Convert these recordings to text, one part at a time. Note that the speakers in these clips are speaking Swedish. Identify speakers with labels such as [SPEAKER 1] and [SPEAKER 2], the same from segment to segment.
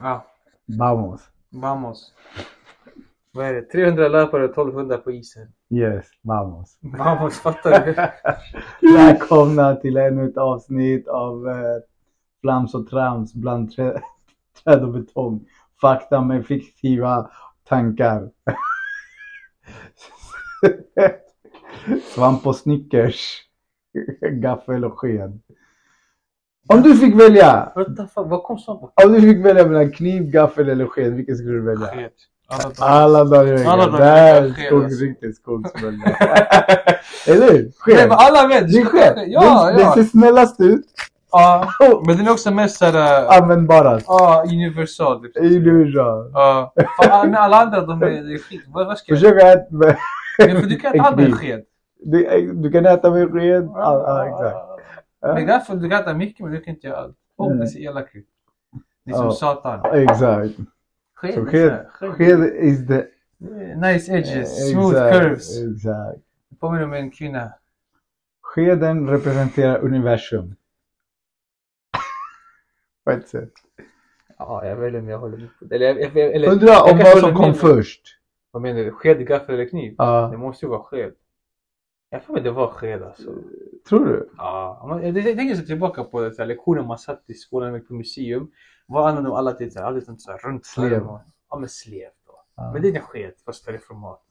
[SPEAKER 1] Ja,
[SPEAKER 2] Vamos.
[SPEAKER 1] vamos. Vad är det? 300 löpare och 1200 på isen.
[SPEAKER 2] Yes, vamos.
[SPEAKER 1] Vamos, fattar du?
[SPEAKER 2] Välkomna till ännu ett avsnitt av eh, Flams och trams bland trä- träd och betong. Fakta med fiktiva tankar. Svamp och Snickers. Gaffel och sked. Om du fick välja.
[SPEAKER 1] What the fuck? Vad kom så på?
[SPEAKER 2] Om du fick välja mellan kniv, gaffel eller sked. Vilken skulle du välja?
[SPEAKER 1] Sked. Alla dagar.
[SPEAKER 2] Alla dagar i
[SPEAKER 1] Alla
[SPEAKER 2] veckan.
[SPEAKER 1] dagar
[SPEAKER 2] Det
[SPEAKER 1] i
[SPEAKER 2] här
[SPEAKER 1] veckan,
[SPEAKER 2] är
[SPEAKER 1] sked,
[SPEAKER 2] skogs,
[SPEAKER 1] alltså.
[SPEAKER 2] riktigt skogsbönder. Eller hur?
[SPEAKER 1] Nej,
[SPEAKER 2] Sked.
[SPEAKER 1] men alla vet!
[SPEAKER 2] Det är sked.
[SPEAKER 1] Ja,
[SPEAKER 2] den, den
[SPEAKER 1] ja.
[SPEAKER 2] ser snällast ut.
[SPEAKER 1] ja.
[SPEAKER 2] Och
[SPEAKER 1] Men den är också mest såhär...
[SPEAKER 2] användbarast.
[SPEAKER 1] Ja, universal. liksom.
[SPEAKER 2] Illusion.
[SPEAKER 1] Ja. Fan, men alla andra de är, det är skit. Vad vad ska jag...
[SPEAKER 2] Försök att äta.
[SPEAKER 1] Men för du kan inte
[SPEAKER 2] En
[SPEAKER 1] ha med
[SPEAKER 2] kniv.
[SPEAKER 1] sked.
[SPEAKER 2] Du, du kan äta med sked. Ja, ja, exakt.
[SPEAKER 1] Det är
[SPEAKER 2] Ja,
[SPEAKER 1] därför du kan äta mycket men du kan inte göra allt. Åh, det ser elak ut. Det är som
[SPEAKER 2] Ja.
[SPEAKER 1] satan.
[SPEAKER 2] Exakt.
[SPEAKER 1] Sked,
[SPEAKER 2] Så
[SPEAKER 1] är
[SPEAKER 2] sked,
[SPEAKER 1] så här, sked.
[SPEAKER 2] sked is the...
[SPEAKER 1] Nice edges, smooth
[SPEAKER 2] exakt,
[SPEAKER 1] curves.
[SPEAKER 2] Exakt.
[SPEAKER 1] Det påminner om en kvinna.
[SPEAKER 2] Skeden representerar universum. På ett sätt.
[SPEAKER 1] Ja, jag vet inte om jag håller med. Eller, jag- jag- eller,
[SPEAKER 2] Undra
[SPEAKER 1] jag
[SPEAKER 2] om
[SPEAKER 1] kanske
[SPEAKER 2] vad som
[SPEAKER 1] håller
[SPEAKER 2] kom
[SPEAKER 1] med.
[SPEAKER 2] först.
[SPEAKER 1] Vad menar du? Sked, gaffel eller kniv? Det
[SPEAKER 2] Ja,
[SPEAKER 1] måste ju vara sked. Jag får mig det var sked alltså.
[SPEAKER 2] tror du?
[SPEAKER 1] Ja, om man- jag, jag tänker så tillbaka på det, så här, lektioner man satt i skolan på museum. Vad använde de alla till? Så här, Alltid sånt så här, runt
[SPEAKER 2] Slev.
[SPEAKER 1] föremål. Ja, men slev. Då.
[SPEAKER 2] Ja.
[SPEAKER 1] Men det är en sked, fast större format.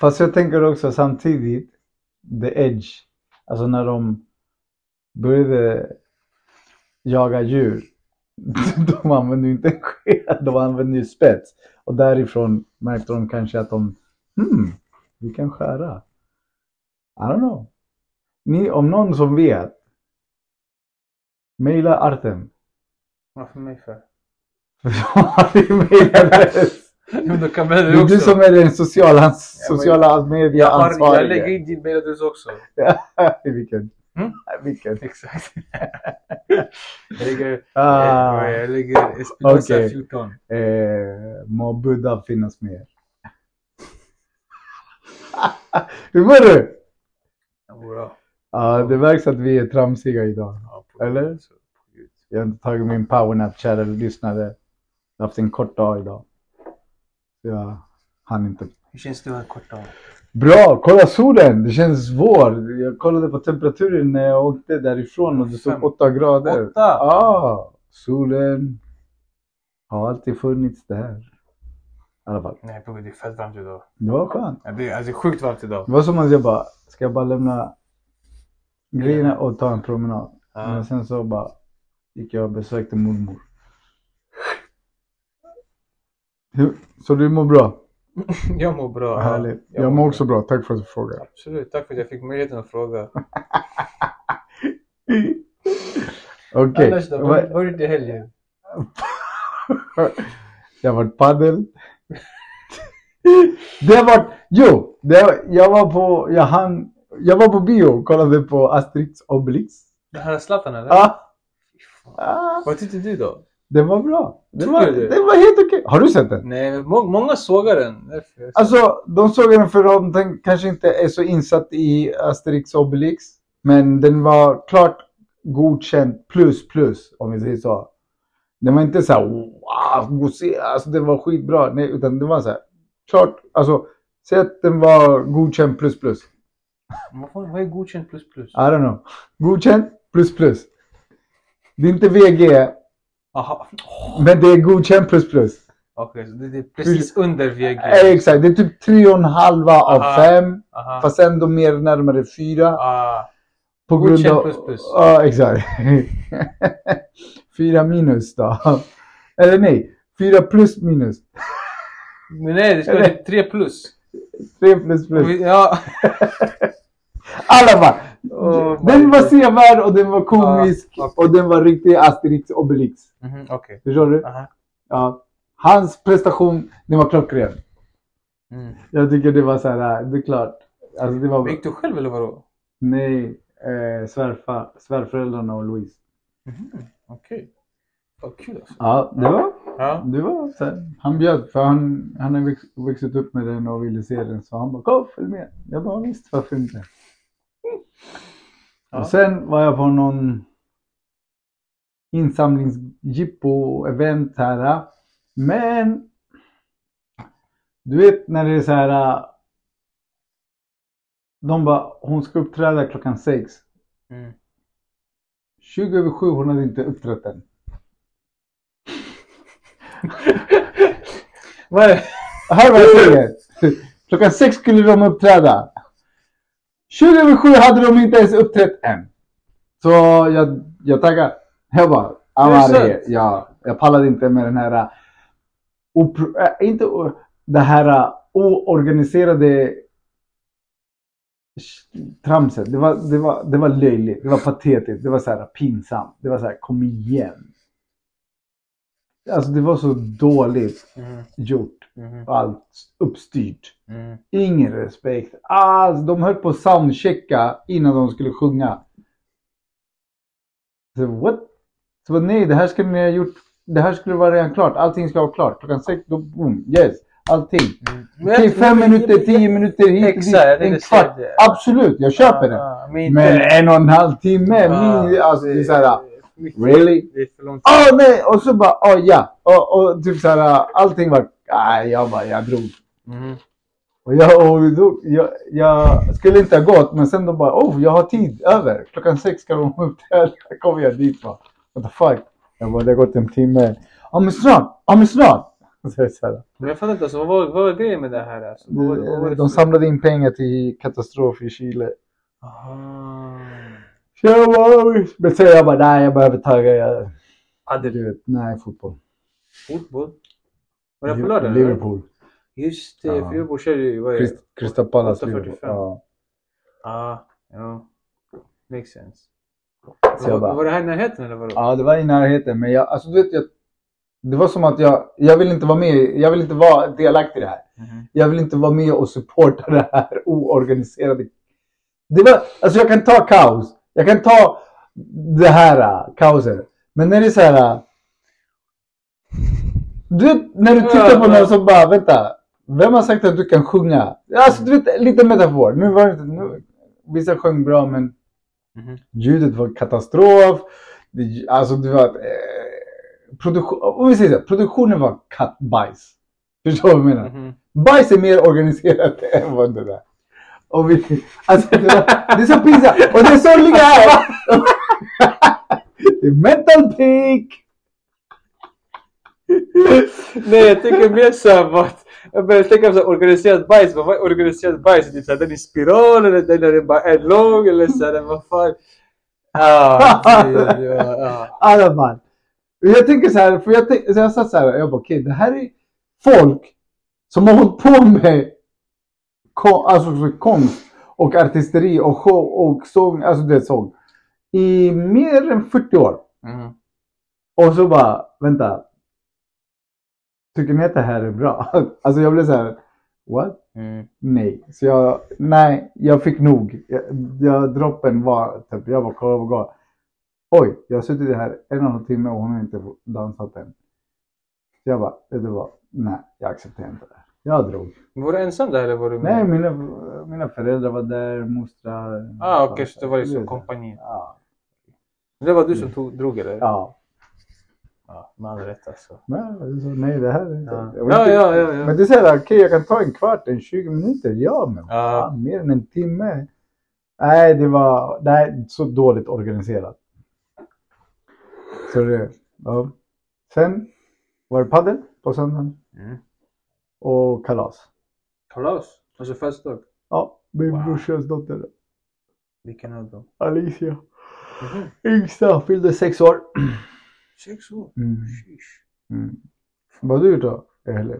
[SPEAKER 2] Fast jag tänker också samtidigt, the edge, alltså när de började jaga djur, de använde ju inte en sked, de använde ju spets. Och därifrån märkte de kanske att de, hmm, vi kan skära. I don't know. Ni, om någon som vet, mejla Artem.
[SPEAKER 1] Varför mig för?
[SPEAKER 2] Han har ju mejladress.
[SPEAKER 1] Jo, då kan
[SPEAKER 2] Det
[SPEAKER 1] man
[SPEAKER 2] är
[SPEAKER 1] också.
[SPEAKER 2] du som är den sociala, sociala
[SPEAKER 1] jag, har, jag
[SPEAKER 2] media-ansvarige.
[SPEAKER 1] lägger in din mailadress också.
[SPEAKER 2] Vilken?
[SPEAKER 1] Mm.
[SPEAKER 2] Vilken?
[SPEAKER 1] Exakt. jag lägger,
[SPEAKER 2] Ah,
[SPEAKER 1] Eh, jag, jag lägger Espinosa
[SPEAKER 2] Okej.
[SPEAKER 1] 14.
[SPEAKER 2] eh, må Buddha finnas med er. Hur mår du?
[SPEAKER 1] Ja, bra.
[SPEAKER 2] Ja, det märks att vi är tramsiga idag.
[SPEAKER 1] Ja, på-
[SPEAKER 2] Eller?
[SPEAKER 1] så, på Gud.
[SPEAKER 2] Jag har inte tagit min powernap, kära lyssnare. Jag har haft en kort dag idag. Jag hann inte.
[SPEAKER 1] Hur känns det att ha en kort dag?
[SPEAKER 2] Bra! Kolla solen! Det känns vår. Jag kollade på temperaturen när jag åkte därifrån och det stod
[SPEAKER 1] Fem.
[SPEAKER 2] 8 grader.
[SPEAKER 1] Åtta!
[SPEAKER 2] Ah, solen har alltid funnits där. I alla fall.
[SPEAKER 1] Nej, på Gud, det är fett varmt idag.
[SPEAKER 2] Det var skönt.
[SPEAKER 1] Ja, det, är, alltså, det är sjukt varmt idag.
[SPEAKER 2] Det var som att jag bara, ska jag bara lämna grejerna och ta en promenad. Men
[SPEAKER 1] Ja.
[SPEAKER 2] sen så bara gick jag och besökte mormor. Hur- Så du mår bra?
[SPEAKER 1] Jag mår bra.
[SPEAKER 2] Vad
[SPEAKER 1] Ja,
[SPEAKER 2] härligt. Jag mår också bra. Tack för att du frågar.
[SPEAKER 1] Absolut, tack för att jag fick möjligheten att fråga.
[SPEAKER 2] Okej.
[SPEAKER 1] Annars då, vad
[SPEAKER 2] Vad-
[SPEAKER 1] vad har du gjort i helgen?
[SPEAKER 2] Det har varit padel. Det har varit, jo, det har, jag var på, jag hann, jag var på bio och kollade på Asterix Obelix.
[SPEAKER 1] Det här är Zlatan eller?
[SPEAKER 2] Ah,
[SPEAKER 1] Fy fan.
[SPEAKER 2] ah,
[SPEAKER 1] Vad tyckte du då?
[SPEAKER 2] det var bra. Det
[SPEAKER 1] Tror
[SPEAKER 2] var,
[SPEAKER 1] du det?
[SPEAKER 2] det var helt okej. Har du sett den?
[SPEAKER 1] Nej, må många sågar den. Därför jag-
[SPEAKER 2] Alltså, de såg den för de tänk- kanske inte är så insatt i Asterix Obelix. Men den var klart godkänd plus plus, om vi säger så. Den var inte så här wow, god se- alltså den var skitbra. Nej, utan den var så här klart, alltså säg att den var godkänd plus plus.
[SPEAKER 1] Vad fan, vad är godkänt plus plus?
[SPEAKER 2] I don't know. Godkänd plus plus. Det är inte VG,
[SPEAKER 1] Aha.
[SPEAKER 2] men det är godkänd plus plus.
[SPEAKER 1] Okej, så det, det är precis under VG.
[SPEAKER 2] Eh, Exakt, det är typ tre och en halva
[SPEAKER 1] Aha.
[SPEAKER 2] av fem.
[SPEAKER 1] Aha.
[SPEAKER 2] Fast ändå mer närmare fyra.
[SPEAKER 1] Ah,
[SPEAKER 2] På
[SPEAKER 1] Godkänd
[SPEAKER 2] grund av...
[SPEAKER 1] plus plus.
[SPEAKER 2] Ja, exakt. fyra minus då. Eller nej, fyra plus minus.
[SPEAKER 1] men nej, det ska vara typ tre plus.
[SPEAKER 2] Tre plus plus.
[SPEAKER 1] Ja.
[SPEAKER 2] Alla bara.
[SPEAKER 1] Oh my
[SPEAKER 2] den var
[SPEAKER 1] God.
[SPEAKER 2] sevärd och den var komisk.
[SPEAKER 1] Ja, okej.
[SPEAKER 2] Och den var riktig Asterix Obelix.
[SPEAKER 1] Mhm, Okej.
[SPEAKER 2] Förstår du?
[SPEAKER 1] Aha.
[SPEAKER 2] Ja. Hans prestation, den var klockren.
[SPEAKER 1] Mm.
[SPEAKER 2] Jag tycker det var så här, äh, det är klart. Alltså det var...
[SPEAKER 1] Gick du själv eller vadå?
[SPEAKER 2] Nej, eh, svärfa, svärföräldrarna och Louise.
[SPEAKER 1] Mhm, Okej. Vad kul alltså.
[SPEAKER 2] Ja, det var
[SPEAKER 1] Ja.
[SPEAKER 2] Det var så här, han bjöd för han, han har växt, vuxit upp med den och ville se den så han bara kom följ med. Jag bara visst varför inte.
[SPEAKER 1] Ja.
[SPEAKER 2] Och sen var jag på någon insamlingsjippo event här. Men du vet när det är så här. De bara, hon ska uppträda klockan sex.
[SPEAKER 1] Mm.
[SPEAKER 2] 20 över 7, hon hade inte uppträtt än.
[SPEAKER 1] Vad är det?
[SPEAKER 2] Hör vad jag säger! Klockan sex skulle de uppträda. 20 över 7 hade de inte ens uppträtt än. Så jag, jag taggade. Jag bara, I'm
[SPEAKER 1] Det är
[SPEAKER 2] out of here.
[SPEAKER 1] sant.
[SPEAKER 2] Ja, jag pallade inte med den här, opr- äh, inte, o- det här äh, oorganiserade tramset. Det var, det, var, det var löjligt, det var patetiskt, det var så här pinsamt. Det var så här, kom igen. Alltså det var så dåligt
[SPEAKER 1] Mm.
[SPEAKER 2] gjort
[SPEAKER 1] Mm.
[SPEAKER 2] och allt uppstyrt.
[SPEAKER 1] Mm.
[SPEAKER 2] Ingen respekt. Alls. De höll på att soundchecka innan de skulle sjunga. Så what? Så bara, nej, det här skulle ni ha gjort. Det här skulle vara redan klart. Allting ska vara klart. Klockan sex, då boom, yes. Allting.
[SPEAKER 1] Men
[SPEAKER 2] Till
[SPEAKER 1] jag-
[SPEAKER 2] fem
[SPEAKER 1] Mm. men-
[SPEAKER 2] minuter, tio minuter hit och dit.
[SPEAKER 1] Exakt, det är
[SPEAKER 2] En
[SPEAKER 1] det
[SPEAKER 2] kvart.
[SPEAKER 1] sämre.
[SPEAKER 2] Absolut, jag köper det.
[SPEAKER 1] Ah, Men inte-
[SPEAKER 2] Men en och en halv timme,
[SPEAKER 1] Ah,
[SPEAKER 2] min, alltså det är såhär,
[SPEAKER 1] för mycket.
[SPEAKER 2] really?
[SPEAKER 1] Det är för långt.
[SPEAKER 2] Åh nej! Och så bara, åh ja. Och, och typ såhär, allting var, nej, jag bara, jag drog.
[SPEAKER 1] Mm.
[SPEAKER 2] Och jag, och då, jag, jag skulle inte ha gått, men sen då bara oh, jag har tid över. Klockan sex ska de uppträda. Då kommer jag dit va. What the fuck? Jag bara, det har gått en timme. Ja men snart! Ja men snart! Så jag så här,
[SPEAKER 1] Men jag fattar inte, alltså, vad, var, vad var grejen med det här? Alltså? Vad var, vad var det
[SPEAKER 2] de
[SPEAKER 1] för-
[SPEAKER 2] samlade in pengar till katastrof i Chile.
[SPEAKER 1] Aha.
[SPEAKER 2] Så jag bara, "Oj." men sen jag bara, nej jag behöver tagga. Jag,
[SPEAKER 1] Hade du
[SPEAKER 2] du vet, nej fotboll.
[SPEAKER 1] fotboll? Var det på lördagen? eller?
[SPEAKER 2] Liverpool.
[SPEAKER 1] Just det,
[SPEAKER 2] Ja.
[SPEAKER 1] för Liverpool körde ju... Vad är det?
[SPEAKER 2] Crystal- Crystal Palace.
[SPEAKER 1] 8.45.
[SPEAKER 2] Liverpool. Ja.
[SPEAKER 1] Ah, ja. Makes sense.
[SPEAKER 2] Så jag bara,
[SPEAKER 1] var det här i närheten eller vadå?
[SPEAKER 2] Ja, det var i närheten. Men jag, alltså, du vet, jag, det var som att jag, jag vill inte vara med. Jag vill inte vara delaktig i det här.
[SPEAKER 1] Mhm.
[SPEAKER 2] Jag vill inte vara med och supporta det här oorganiserade. Det var, alltså jag kan ta kaos. Jag kan ta det här äh, kaoset. Men när det är så här. äh, Du vet, när du tittar på någon som bara, vänta. Vem har sagt att du kan sjunga? Alltså du vet, lite metafor. Nu var det inte, nu, vissa sjöng bra men
[SPEAKER 1] Mhm.
[SPEAKER 2] ljudet var katastrof. Det, alltså det var... Eh, produktion, om vi säger så, här, produktionen var kattbajs. Förstår du vad jag menar?
[SPEAKER 1] Mhm.
[SPEAKER 2] Bajs är mer organiserat än vad det där. Och vi, alltså, det, var, det är så pinsamt. Och det sorgliga är... Det är mental peak!
[SPEAKER 1] Nej, jag tänker mer såhär bara att jag börjar tänka på så här organiserat bajs. Vad är organiserat bajs? Typ såhär, den i spiral eller den där den bara är lång eller såhär, vad fan. Ah, det- det var- ah.
[SPEAKER 2] I alla fall. Jag tänker så här, för jag, tänk, så jag satt så här, jag bara okej, det här är folk som har hållit på med kon, alltså, så konst och artisteri och show och sång, alltså det är sång, i mer än 40 år.
[SPEAKER 1] Mhm.
[SPEAKER 2] Och så bara, vänta. Tycker ni att det här är bra? Alltså jag blev så här, what?
[SPEAKER 1] Mm.
[SPEAKER 2] Nej. Så jag, nej, jag fick nog. Jag, jag, droppen var, typ, jag bara kollade på golvet. Oj, jag har suttit här en och en halv timme och hon har inte dansat än. Så jag bara, vet du vad? Nej, jag accepterar inte det här. Jag drog.
[SPEAKER 1] Var du ensam där eller var du med?
[SPEAKER 2] Nej, mina, mina föräldrar var där, mostrar.
[SPEAKER 1] Ah, okej, så det var
[SPEAKER 2] Du
[SPEAKER 1] liksom
[SPEAKER 2] vet.
[SPEAKER 1] kompani.
[SPEAKER 2] Ja.
[SPEAKER 1] Det var du som tog, drog eller?
[SPEAKER 2] ja.
[SPEAKER 1] Ja, med all rätt alltså.
[SPEAKER 2] Men, så, nej, det här är inte...
[SPEAKER 1] Ja.
[SPEAKER 2] jag vill
[SPEAKER 1] Ja,
[SPEAKER 2] inte-
[SPEAKER 1] ja, ja, ja.
[SPEAKER 2] Men det är såhär, okej jag kan ta en kvart, en 20 minuter. Ja, men
[SPEAKER 1] Ja.
[SPEAKER 2] fan, mer än en timme. Nej, det var nej, så dåligt organiserat. Så det, ja. Sen var det padel på söndagen
[SPEAKER 1] Mm.
[SPEAKER 2] och kalas.
[SPEAKER 1] Kalas? Alltså födelsedag?
[SPEAKER 2] Ja, min
[SPEAKER 1] Wow.
[SPEAKER 2] brorsas dotter
[SPEAKER 1] Vilken av dem?
[SPEAKER 2] Alicia,
[SPEAKER 1] Mhm.
[SPEAKER 2] yngsta, fyllde sex år.
[SPEAKER 1] Sex år?
[SPEAKER 2] Mm.
[SPEAKER 1] Sheesh.
[SPEAKER 2] Mm. Vad har du gjort då? Eller?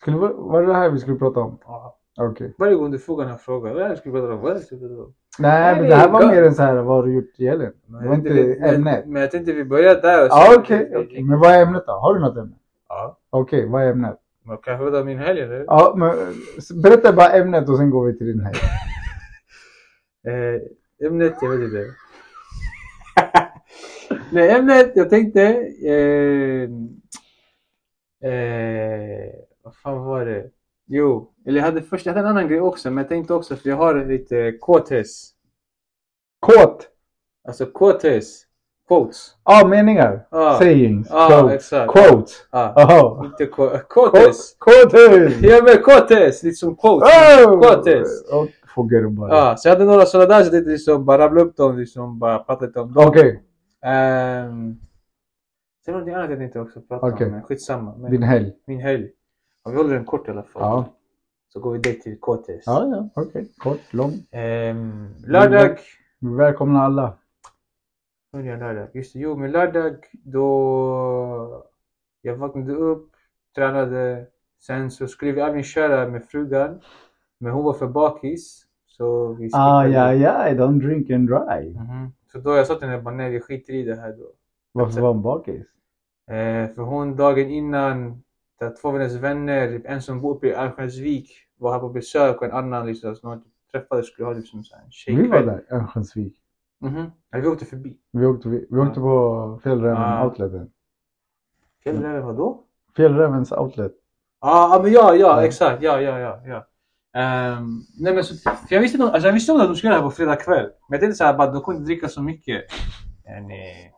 [SPEAKER 2] Skulle, var, var det det här vi skulle prata om? Ah,
[SPEAKER 1] Ja.
[SPEAKER 2] Okej.
[SPEAKER 1] Varje gång du frågar den här frågan, vad är det jag skulle prata om? Vad är det jag skulle prata om?
[SPEAKER 2] Nej, men det här var mer en så här, vad har du gjort i helgen? Det var inte
[SPEAKER 1] men,
[SPEAKER 2] ämnet.
[SPEAKER 1] Men jag tänkte vi börjar där. och
[SPEAKER 2] Ja,
[SPEAKER 1] sen-
[SPEAKER 2] okej. okej. Men vad är ämnet då? Har du något ämne?
[SPEAKER 1] Ja.
[SPEAKER 2] Okej, vad är ämnet?
[SPEAKER 1] Man kan prata om min helg eller?
[SPEAKER 2] Ja, men berätta bara ämnet och sen går vi till din helg.
[SPEAKER 1] Eh, ämnet, jag vet inte. Nej, ämnet, jag tänkte... Eh, eh, vad fan var det? Jo, eller jag hade först, jag hade en annan grej också, men jag tänkte också för jag har lite KTS.
[SPEAKER 2] Kåt!
[SPEAKER 1] Alltså KTS. Quotes.
[SPEAKER 2] Ja, meningar.
[SPEAKER 1] Ja.
[SPEAKER 2] Sayings.
[SPEAKER 1] Ja,
[SPEAKER 2] quotes.
[SPEAKER 1] exakt.
[SPEAKER 2] Quotes.
[SPEAKER 1] Ah,
[SPEAKER 2] Jaha.
[SPEAKER 1] inte qu- quotes.
[SPEAKER 2] Quotes!
[SPEAKER 1] Ja men quotes, liksom quotes.
[SPEAKER 2] Oh!
[SPEAKER 1] Quotes.
[SPEAKER 2] Och frågar de bara.
[SPEAKER 1] Ja, så jag hade några sådana där så det är liksom bara rabblade upp dem, liksom bara prata lite om dem.
[SPEAKER 2] Okej,
[SPEAKER 1] Ehm, Sen var det någonting annat jag tänkte också prata
[SPEAKER 2] Okej.
[SPEAKER 1] om, men skitsamma. Men
[SPEAKER 2] din helg.
[SPEAKER 1] Min helg. Ja, vi håller den kort i alla fall.
[SPEAKER 2] Ja,
[SPEAKER 1] Så går vi direkt till KTS.
[SPEAKER 2] ja, ja. okej. Kort, lång.
[SPEAKER 1] Ehm, lördag.
[SPEAKER 2] Vi välkomnar alla.
[SPEAKER 1] Vad gör jag lördag? Just det, jo men lördag då jag vaknade upp, tränade, sen så skulle vi även köra med frugan. Men hon var för bakis. Så vi
[SPEAKER 2] Ah,
[SPEAKER 1] skippade.
[SPEAKER 2] ja, ja, don't drink and drive.
[SPEAKER 1] Mhm. Så då jag sa till henne bara nej vi skiter i det här då.
[SPEAKER 2] Varför var hon bakis?
[SPEAKER 1] Eh, för hon dagen innan, där två av hennes vänner, typ en som bor uppe i Örnsköldsvik var här på besök och en annan liksom, som hon träffade skulle ha liksom, så här en tjejkväll.
[SPEAKER 2] Vi var där, Örnsköldsvik.
[SPEAKER 1] Mhm. Ja, vi åkte förbi.
[SPEAKER 2] Vi åkte, vi, vi åkte på Fjällräven
[SPEAKER 1] Ah.
[SPEAKER 2] outleten.
[SPEAKER 1] Fjällräven vadå?
[SPEAKER 2] Fjällrävens outlet.
[SPEAKER 1] Mm. Ja, ah, men ja, ja,
[SPEAKER 2] Ja.
[SPEAKER 1] exakt. Ja, ja, ja. ja. Ehm, nej, men så, för jag visste, nog- alltså, jag visste nog att de skulle här på fredag kväll. Men jag tänkte så här, bara, de kunde inte dricka så mycket. Ja, nej,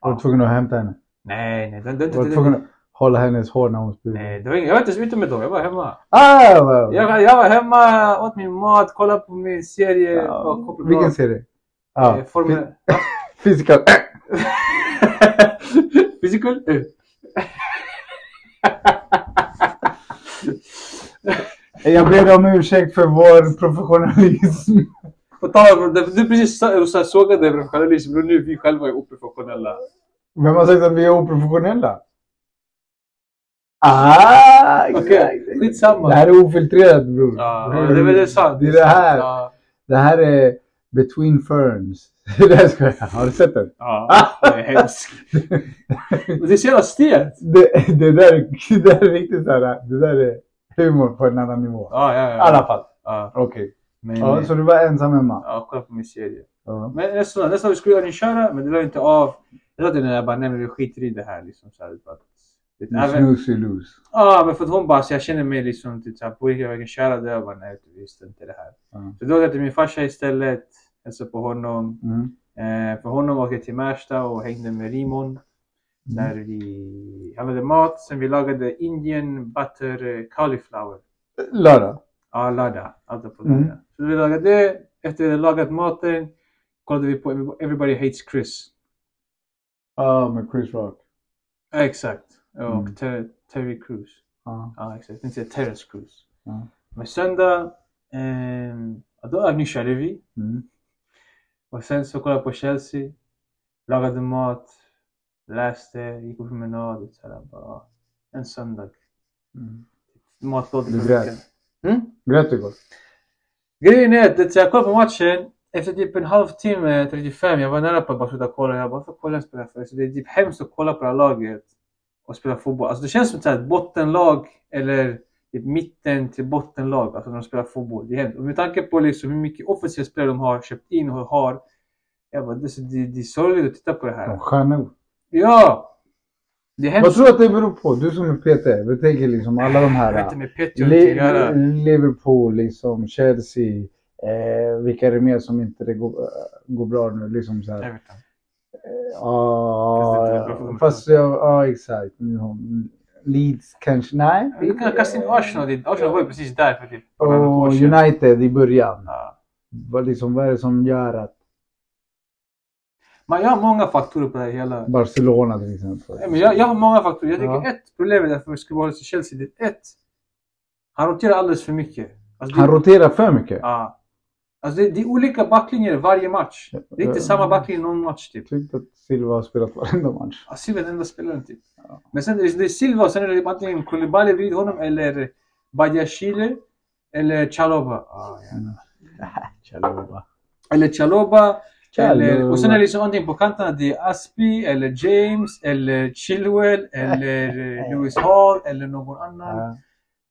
[SPEAKER 2] Var du tvungen att hämta henne?
[SPEAKER 1] nej, nej. Det, det,
[SPEAKER 2] Var
[SPEAKER 1] det,
[SPEAKER 2] du
[SPEAKER 1] det,
[SPEAKER 2] tvungen att hålla hennes hår när hon spydde?
[SPEAKER 1] nej, det var ingen, jag var inte ens ute med dem, jag var hemma.
[SPEAKER 2] Ah! vad-
[SPEAKER 1] Jag, jag var hemma, åt min mat, kollade på min serie.
[SPEAKER 2] Ja,
[SPEAKER 1] och kopplade
[SPEAKER 2] Vilken
[SPEAKER 1] av.
[SPEAKER 2] serie? Ja,
[SPEAKER 1] Eh, Formel...
[SPEAKER 2] fi- Physical.
[SPEAKER 1] Physical? Eh.
[SPEAKER 2] Eh, Jag ber om ursäkt för vår professionalism.
[SPEAKER 1] På tal om det, du precis sa- så här sågade professionalism och nu vi själva är oprofessionella.
[SPEAKER 2] Vem har sagt att vi är oprofessionella? Ah! exakt.
[SPEAKER 1] Okej, skitsamma.
[SPEAKER 2] Det här är ofiltrerat bror.
[SPEAKER 1] Ja, det är väl det sant.
[SPEAKER 2] Det är det här.
[SPEAKER 1] Ja,
[SPEAKER 2] Det här är Between Ferns. det här ska jag. Har du sett den?
[SPEAKER 1] ja det är hemskt. Men det är så jävla stelt.
[SPEAKER 2] Det, det, där, är- det där är riktigt så här. Det där är humor på en annan nivå.
[SPEAKER 1] Ja, ja, ja.
[SPEAKER 2] I alla fall.
[SPEAKER 1] Ja,
[SPEAKER 2] Okej.
[SPEAKER 1] men,
[SPEAKER 2] Ja, så du var ensam hemma?
[SPEAKER 1] ja, kolla på min serie.
[SPEAKER 2] Ja.
[SPEAKER 1] Men nästan, nästan vi skulle ju köra, men det lade inte av. Jag sa till henne, jag bara, nej men vi skiter i det här liksom. Så här, för att, det,
[SPEAKER 2] You
[SPEAKER 1] även,
[SPEAKER 2] snooze, you lose.
[SPEAKER 1] ja, men för att hon bara, så jag känner mig liksom, typ såhär, borde jag verkligen köra det? Jag bara, nej du visste inte det här.
[SPEAKER 2] Ja.
[SPEAKER 1] Så då åkte jag till min farsa istället, hälsade på honom.
[SPEAKER 2] Mm.
[SPEAKER 1] Eh, för honom åkte jag till Märsta och hängde med Rimon. Där vi handlade mat, sen vi lagade Indian butter eh, cauliflower.
[SPEAKER 2] Lördag.
[SPEAKER 1] Ja, lördag. Alltså på
[SPEAKER 2] Mm.
[SPEAKER 1] lördag. Så vi lagade det. Efter vi hade lagat maten kollade vi på Every- Everybody Hates Chris.
[SPEAKER 2] Ja, med Chris Rock.
[SPEAKER 1] Ja, exakt. Och
[SPEAKER 2] Mm.
[SPEAKER 1] Ter- Terry Crews.
[SPEAKER 2] Ja.
[SPEAKER 1] Ja, exakt. Jag tänkte säga Terrence Crews.
[SPEAKER 2] Ja.
[SPEAKER 1] Men söndag, ehm, ja, då övningskörde vi.
[SPEAKER 2] Mm.
[SPEAKER 1] Och sen så kollade jag på Chelsea. Lagade mat. Läste, gick på promenad. Och så här, bara, en söndag.
[SPEAKER 2] Mm.
[SPEAKER 1] Matlådor.
[SPEAKER 2] Du
[SPEAKER 1] för
[SPEAKER 2] grät.
[SPEAKER 1] veckan. Mm?
[SPEAKER 2] Grät du igår?
[SPEAKER 1] Grejen är att det- jag kollade på matchen, efter typ en halvtimme, 35, jag var nära på att bara sluta kolla. Jag bara, varför kollar jag ens på det här för? Så det är typ hemskt att kolla på det här laget och spela fotboll. Alltså det känns som så här ett bottenlag eller typ mitten till bottenlag, alltså när de spelar fotboll. Det är hemskt. Och med tanke på liksom hur mycket offensiva spelare de har köpt in och har. Jag bara, det är, så- det, det är sorgligt att titta på det
[SPEAKER 2] De
[SPEAKER 1] här.
[SPEAKER 2] stjärnor.
[SPEAKER 1] Ja! Det är
[SPEAKER 2] Vad
[SPEAKER 1] hemskt.
[SPEAKER 2] tror du att det beror på? Du som är PT, vi tänker liksom alla de
[SPEAKER 1] Jag vet
[SPEAKER 2] här...
[SPEAKER 1] inte med Petty och
[SPEAKER 2] Li-
[SPEAKER 1] göra.
[SPEAKER 2] Liverpool, liksom, Chelsea, eh, vilka är det mer som inte det går, äh, går bra nu? Liksom så här.
[SPEAKER 1] Jag vet inte. Fast det är inte bra
[SPEAKER 2] Ja,
[SPEAKER 1] för
[SPEAKER 2] fast jag, ja exakt. Nu har- Leeds kanske, nej.
[SPEAKER 1] Men Du kan kasta in Arsenal. dit. Arsenal var ju precis där för typ bara något år
[SPEAKER 2] Och
[SPEAKER 1] sedan.
[SPEAKER 2] United i början.
[SPEAKER 1] Ja.
[SPEAKER 2] Vad, liksom, vad är det som gör att
[SPEAKER 1] Man, jag har många faktorer på det här hela.
[SPEAKER 2] Barcelona till exempel?
[SPEAKER 1] Nej, men jag, jag har många faktorer. Jag tycker
[SPEAKER 2] Ja.
[SPEAKER 1] ett problem är därför vi skulle vara till Chelsea. Det är ett. Han roterar alldeles för mycket. Alltså, det,
[SPEAKER 2] Han roterar för mycket.
[SPEAKER 1] ja. alltså, det, det är olika backlinjer varje match. Det är inte
[SPEAKER 2] Ja.
[SPEAKER 1] samma backlinje någon match typ.
[SPEAKER 2] Jag tyckte att Silva har spelat varenda match.
[SPEAKER 1] Ja, Silva är den enda spelaren typ. Men sen det är det är Silva och sen är det antingen Koulibaly bredvid honom eller Badiashile eller Chaloba.
[SPEAKER 2] Ah,
[SPEAKER 1] Ja, ja.
[SPEAKER 2] Chalova.
[SPEAKER 1] Eller Chaloba. Eller,
[SPEAKER 2] Chaloba.
[SPEAKER 1] eh, och sen är det liksom antingen på kanterna det är Aspi eller James eller Chilwell eller eh, Lewis Hall eller någon annan.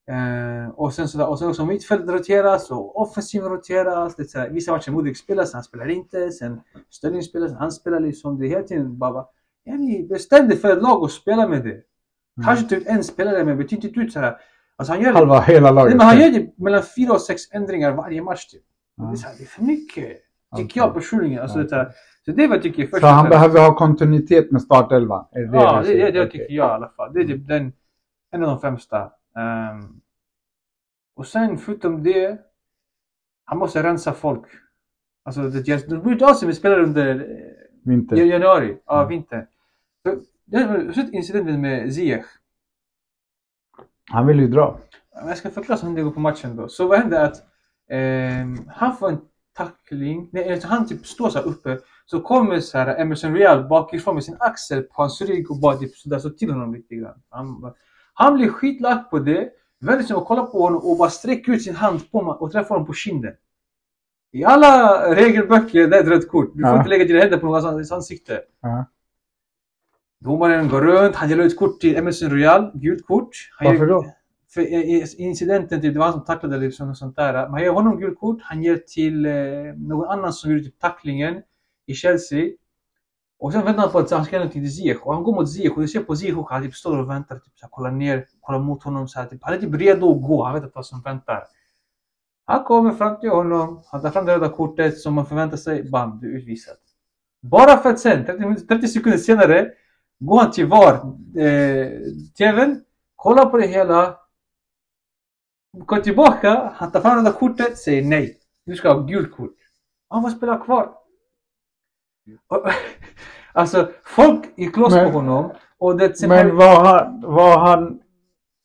[SPEAKER 2] Ja.
[SPEAKER 1] Eh, och sen sådär, och sen också mittfältet roteras och offensiven roteras. Det är sådär, vissa matcher Modric spelar, sen han spelar inte. Sen Sterling spelar, sen han spelar liksom. Det är hela tiden bara, bara ja, ni bestämde för ett lag och spela med det. Kanske ta ut en spelare, men byt inte ut såhär. Alltså han gör,
[SPEAKER 2] Halva hela
[SPEAKER 1] nej,
[SPEAKER 2] laget.
[SPEAKER 1] men han gör typ mellan fyra och sex ändringar varje match typ.
[SPEAKER 2] Ja.
[SPEAKER 1] Det, är såhär, det är för mycket, tycker
[SPEAKER 2] Okej.
[SPEAKER 1] jag personligen. Alltså, det, är såhär, Så det är vad jag tycker först
[SPEAKER 2] Så
[SPEAKER 1] och
[SPEAKER 2] han
[SPEAKER 1] främst.
[SPEAKER 2] behöver ha kontinuitet med startelvan? Är det Mm.
[SPEAKER 1] Ja,
[SPEAKER 2] du
[SPEAKER 1] det, det,
[SPEAKER 2] säger?
[SPEAKER 1] det
[SPEAKER 2] Okej.
[SPEAKER 1] tycker jag i alla fall. Det är typ den, en av de främsta. Ehm, och sen förutom det, han måste rensa folk. Alltså, det känns... De bryr inte av sig med spelare under
[SPEAKER 2] Vinter.
[SPEAKER 1] eh, januari, ja,
[SPEAKER 2] Mm.
[SPEAKER 1] vintern. Så, Jag har sett incidenten med Ziyech.
[SPEAKER 2] Han vill ju dra.
[SPEAKER 1] Men Jag ska förklara som det går på matchen då. Så vad hände att ehm, han får en tackling, nej, alltså han typ står så här uppe. Så kommer så här Emerson Real bakifrån med sin axel på hans rygg och bara typ sådär så till honom lite grann. Han, bara- han blir skitlack på det, vänder sig om och kollar på honom och bara sträcker ut sin hand på honom och träffar honom på kinden. I alla regelböcker det är ett rött kort. Du får
[SPEAKER 2] Ja.
[SPEAKER 1] inte lägga dina händer på någons ans- ansikte.
[SPEAKER 2] Ja.
[SPEAKER 1] Domaren går runt, han ger ut kort till Emerson Real, gult kort. Han
[SPEAKER 2] Varför
[SPEAKER 1] ger-
[SPEAKER 2] då?
[SPEAKER 1] för eh, incidenten, typ, det var han som tacklade liksom, och sånt där. Man ger honom gult kort, han ger till eh, någon annan som gjorde typ tacklingen i Chelsea. Och sen väntar han på att han ska göra någonting till Ziyech och han går mot Ziyech och du ser på Ziyech och han typ står och väntar, typ, så här, kollar ner, kollar mot honom. Så här, typ, han är typ redo att gå, han vet inte vad som väntar. Han kommer fram till honom, han tar fram det röda kortet som man förväntar sig, bam, du är utvisad. Bara för att sen, 30, minut- 30 sekunder senare, går han till VAR, eh, TVn, kollar på det hela, Går tillbaka, han tar fram det där kortet, säger nej. Du ska ha gult kort. Han får spela kvar. Och- Alltså, folk gick loss
[SPEAKER 2] Men-
[SPEAKER 1] på honom. Och det, sen
[SPEAKER 2] Men vad han, vad han,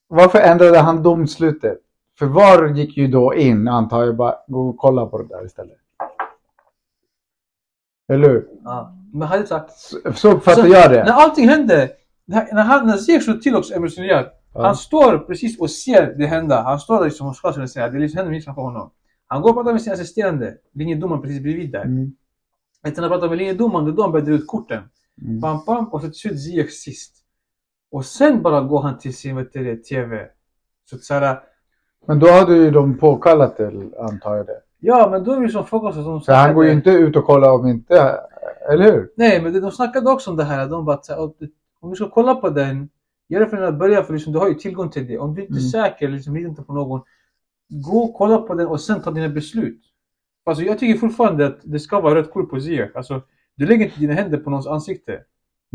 [SPEAKER 2] varför ändrade han domslutet? För VAR gick ju då in, antar jag. Bara gå och kolla på det där istället. Eller hur?
[SPEAKER 1] ja, men han hade sagt.
[SPEAKER 2] Så- Så uppfattar
[SPEAKER 1] Så-
[SPEAKER 2] jag det.
[SPEAKER 1] När allting hände, när, när han när Ziyech slog till också Emerson Real,
[SPEAKER 2] Ja.
[SPEAKER 1] han står precis och ser det hända. Han står där liksom och ska skulle jag säga, det liksom händer mitt framför honom. Han går och pratar med sin assisterande, linjedomaren precis bredvid där.
[SPEAKER 2] Mm,
[SPEAKER 1] Efter att han pratat med linjedomaren, det är då han börjar dra ut korten.
[SPEAKER 2] mm.
[SPEAKER 1] Bam, bam, och så till slut Ziyech sist. Och sen bara går han till sin vet du, det, TV. Så att såhär,
[SPEAKER 2] Men då hade ju de påkallat det, antar jag det.
[SPEAKER 1] ja men då är det ju som folk också som
[SPEAKER 2] Så han går ju inte ut och kollar om inte, eller hur?
[SPEAKER 1] Nej men det- de snackade också om det här, de bara såhär, om du- om du ska kolla på den, gör det från den här början för liksom, du har ju tillgång till det. Om du inte är
[SPEAKER 2] Mm.
[SPEAKER 1] säker, liksom, litar inte på någon, gå och kolla på den och sen ta dina beslut. Alltså jag tycker fortfarande att det ska vara rött kort på Ziyech. Alltså, du lägger inte dina händer på någons ansikte.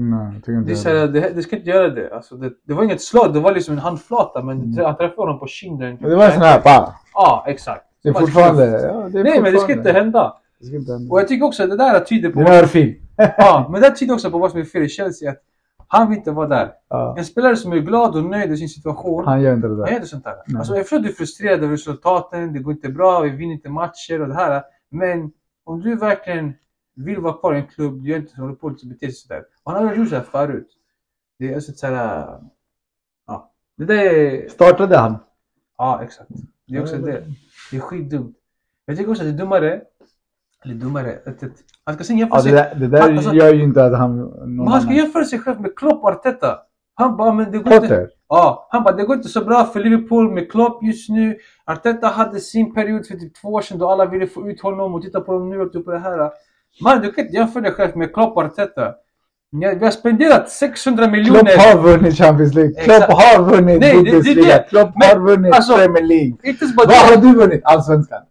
[SPEAKER 2] Nej, jag tycker inte
[SPEAKER 1] Det, är
[SPEAKER 2] det.
[SPEAKER 1] så här, det, det ska inte göra det. Alltså, det. Det var inget slag, det var liksom en handflata men
[SPEAKER 2] Mm.
[SPEAKER 1] han träffade honom på kinden.
[SPEAKER 2] Men Det var en sån här, bara.
[SPEAKER 1] Ja, exakt.
[SPEAKER 2] Det är fortfarande... Ja, det är
[SPEAKER 1] Nej, men det ska
[SPEAKER 2] fortfarande-
[SPEAKER 1] inte hända.
[SPEAKER 2] Det ska inte hända.
[SPEAKER 1] Och jag tycker också att det där tyder
[SPEAKER 2] Din
[SPEAKER 1] på...
[SPEAKER 2] örfil.
[SPEAKER 1] Ja, men det tyder också på vad som är fel i Chelsea. Att han vill inte vara där.
[SPEAKER 2] Ja,
[SPEAKER 1] En spelare som är glad och nöjd i sin situation, han
[SPEAKER 2] han gör inte det där.
[SPEAKER 1] gör inte sånt där.
[SPEAKER 2] Nej.
[SPEAKER 1] Alltså, jag förstår att du är frustrerad över resultaten, det går inte bra, vi vinner inte matcher och det här. Men om du verkligen vill vara kvar i en klubb, du gör inte så, håller på och beter sig sådär. Och han har gjort sådär förut. Det är alltså så här... Ja. Det där är...
[SPEAKER 2] Startade han?
[SPEAKER 1] Ja, exakt. Det är också
[SPEAKER 2] Ja, det-
[SPEAKER 1] det. Det är skitdumt. Jag tycker också att det är dummare. Eller dummare. Att, att, han ska sen jämföra
[SPEAKER 2] Ja, det
[SPEAKER 1] sig.
[SPEAKER 2] där, det där
[SPEAKER 1] Alltså-
[SPEAKER 2] gör ju inte att han... Någon
[SPEAKER 1] Men han ska
[SPEAKER 2] annan-
[SPEAKER 1] jämföra sig själv med Klopp och Arteta. Han bara, men det går inte.
[SPEAKER 2] Potter.
[SPEAKER 1] Ja, han bara, det går inte så bra för Liverpool med Klopp just nu. Arteta hade sin period för typ två år sedan då alla ville få ut honom och titta på dem nu och typ på det här. Man, du kan inte jämföra dig själv med Klopp och Arteta. Ni har- Vi har spenderat 600 miljoner.
[SPEAKER 2] Klopp har vunnit Champions League. Klopp
[SPEAKER 1] Exakt.
[SPEAKER 2] har vunnit
[SPEAKER 1] Nej, det- det är
[SPEAKER 2] Bundesliga.
[SPEAKER 1] det.
[SPEAKER 2] Klopp
[SPEAKER 1] Men,
[SPEAKER 2] har vunnit
[SPEAKER 1] alltså-
[SPEAKER 2] Premier League.
[SPEAKER 1] Inte ens bara
[SPEAKER 2] Vad
[SPEAKER 1] det.
[SPEAKER 2] har du vunnit? Allsvenskan.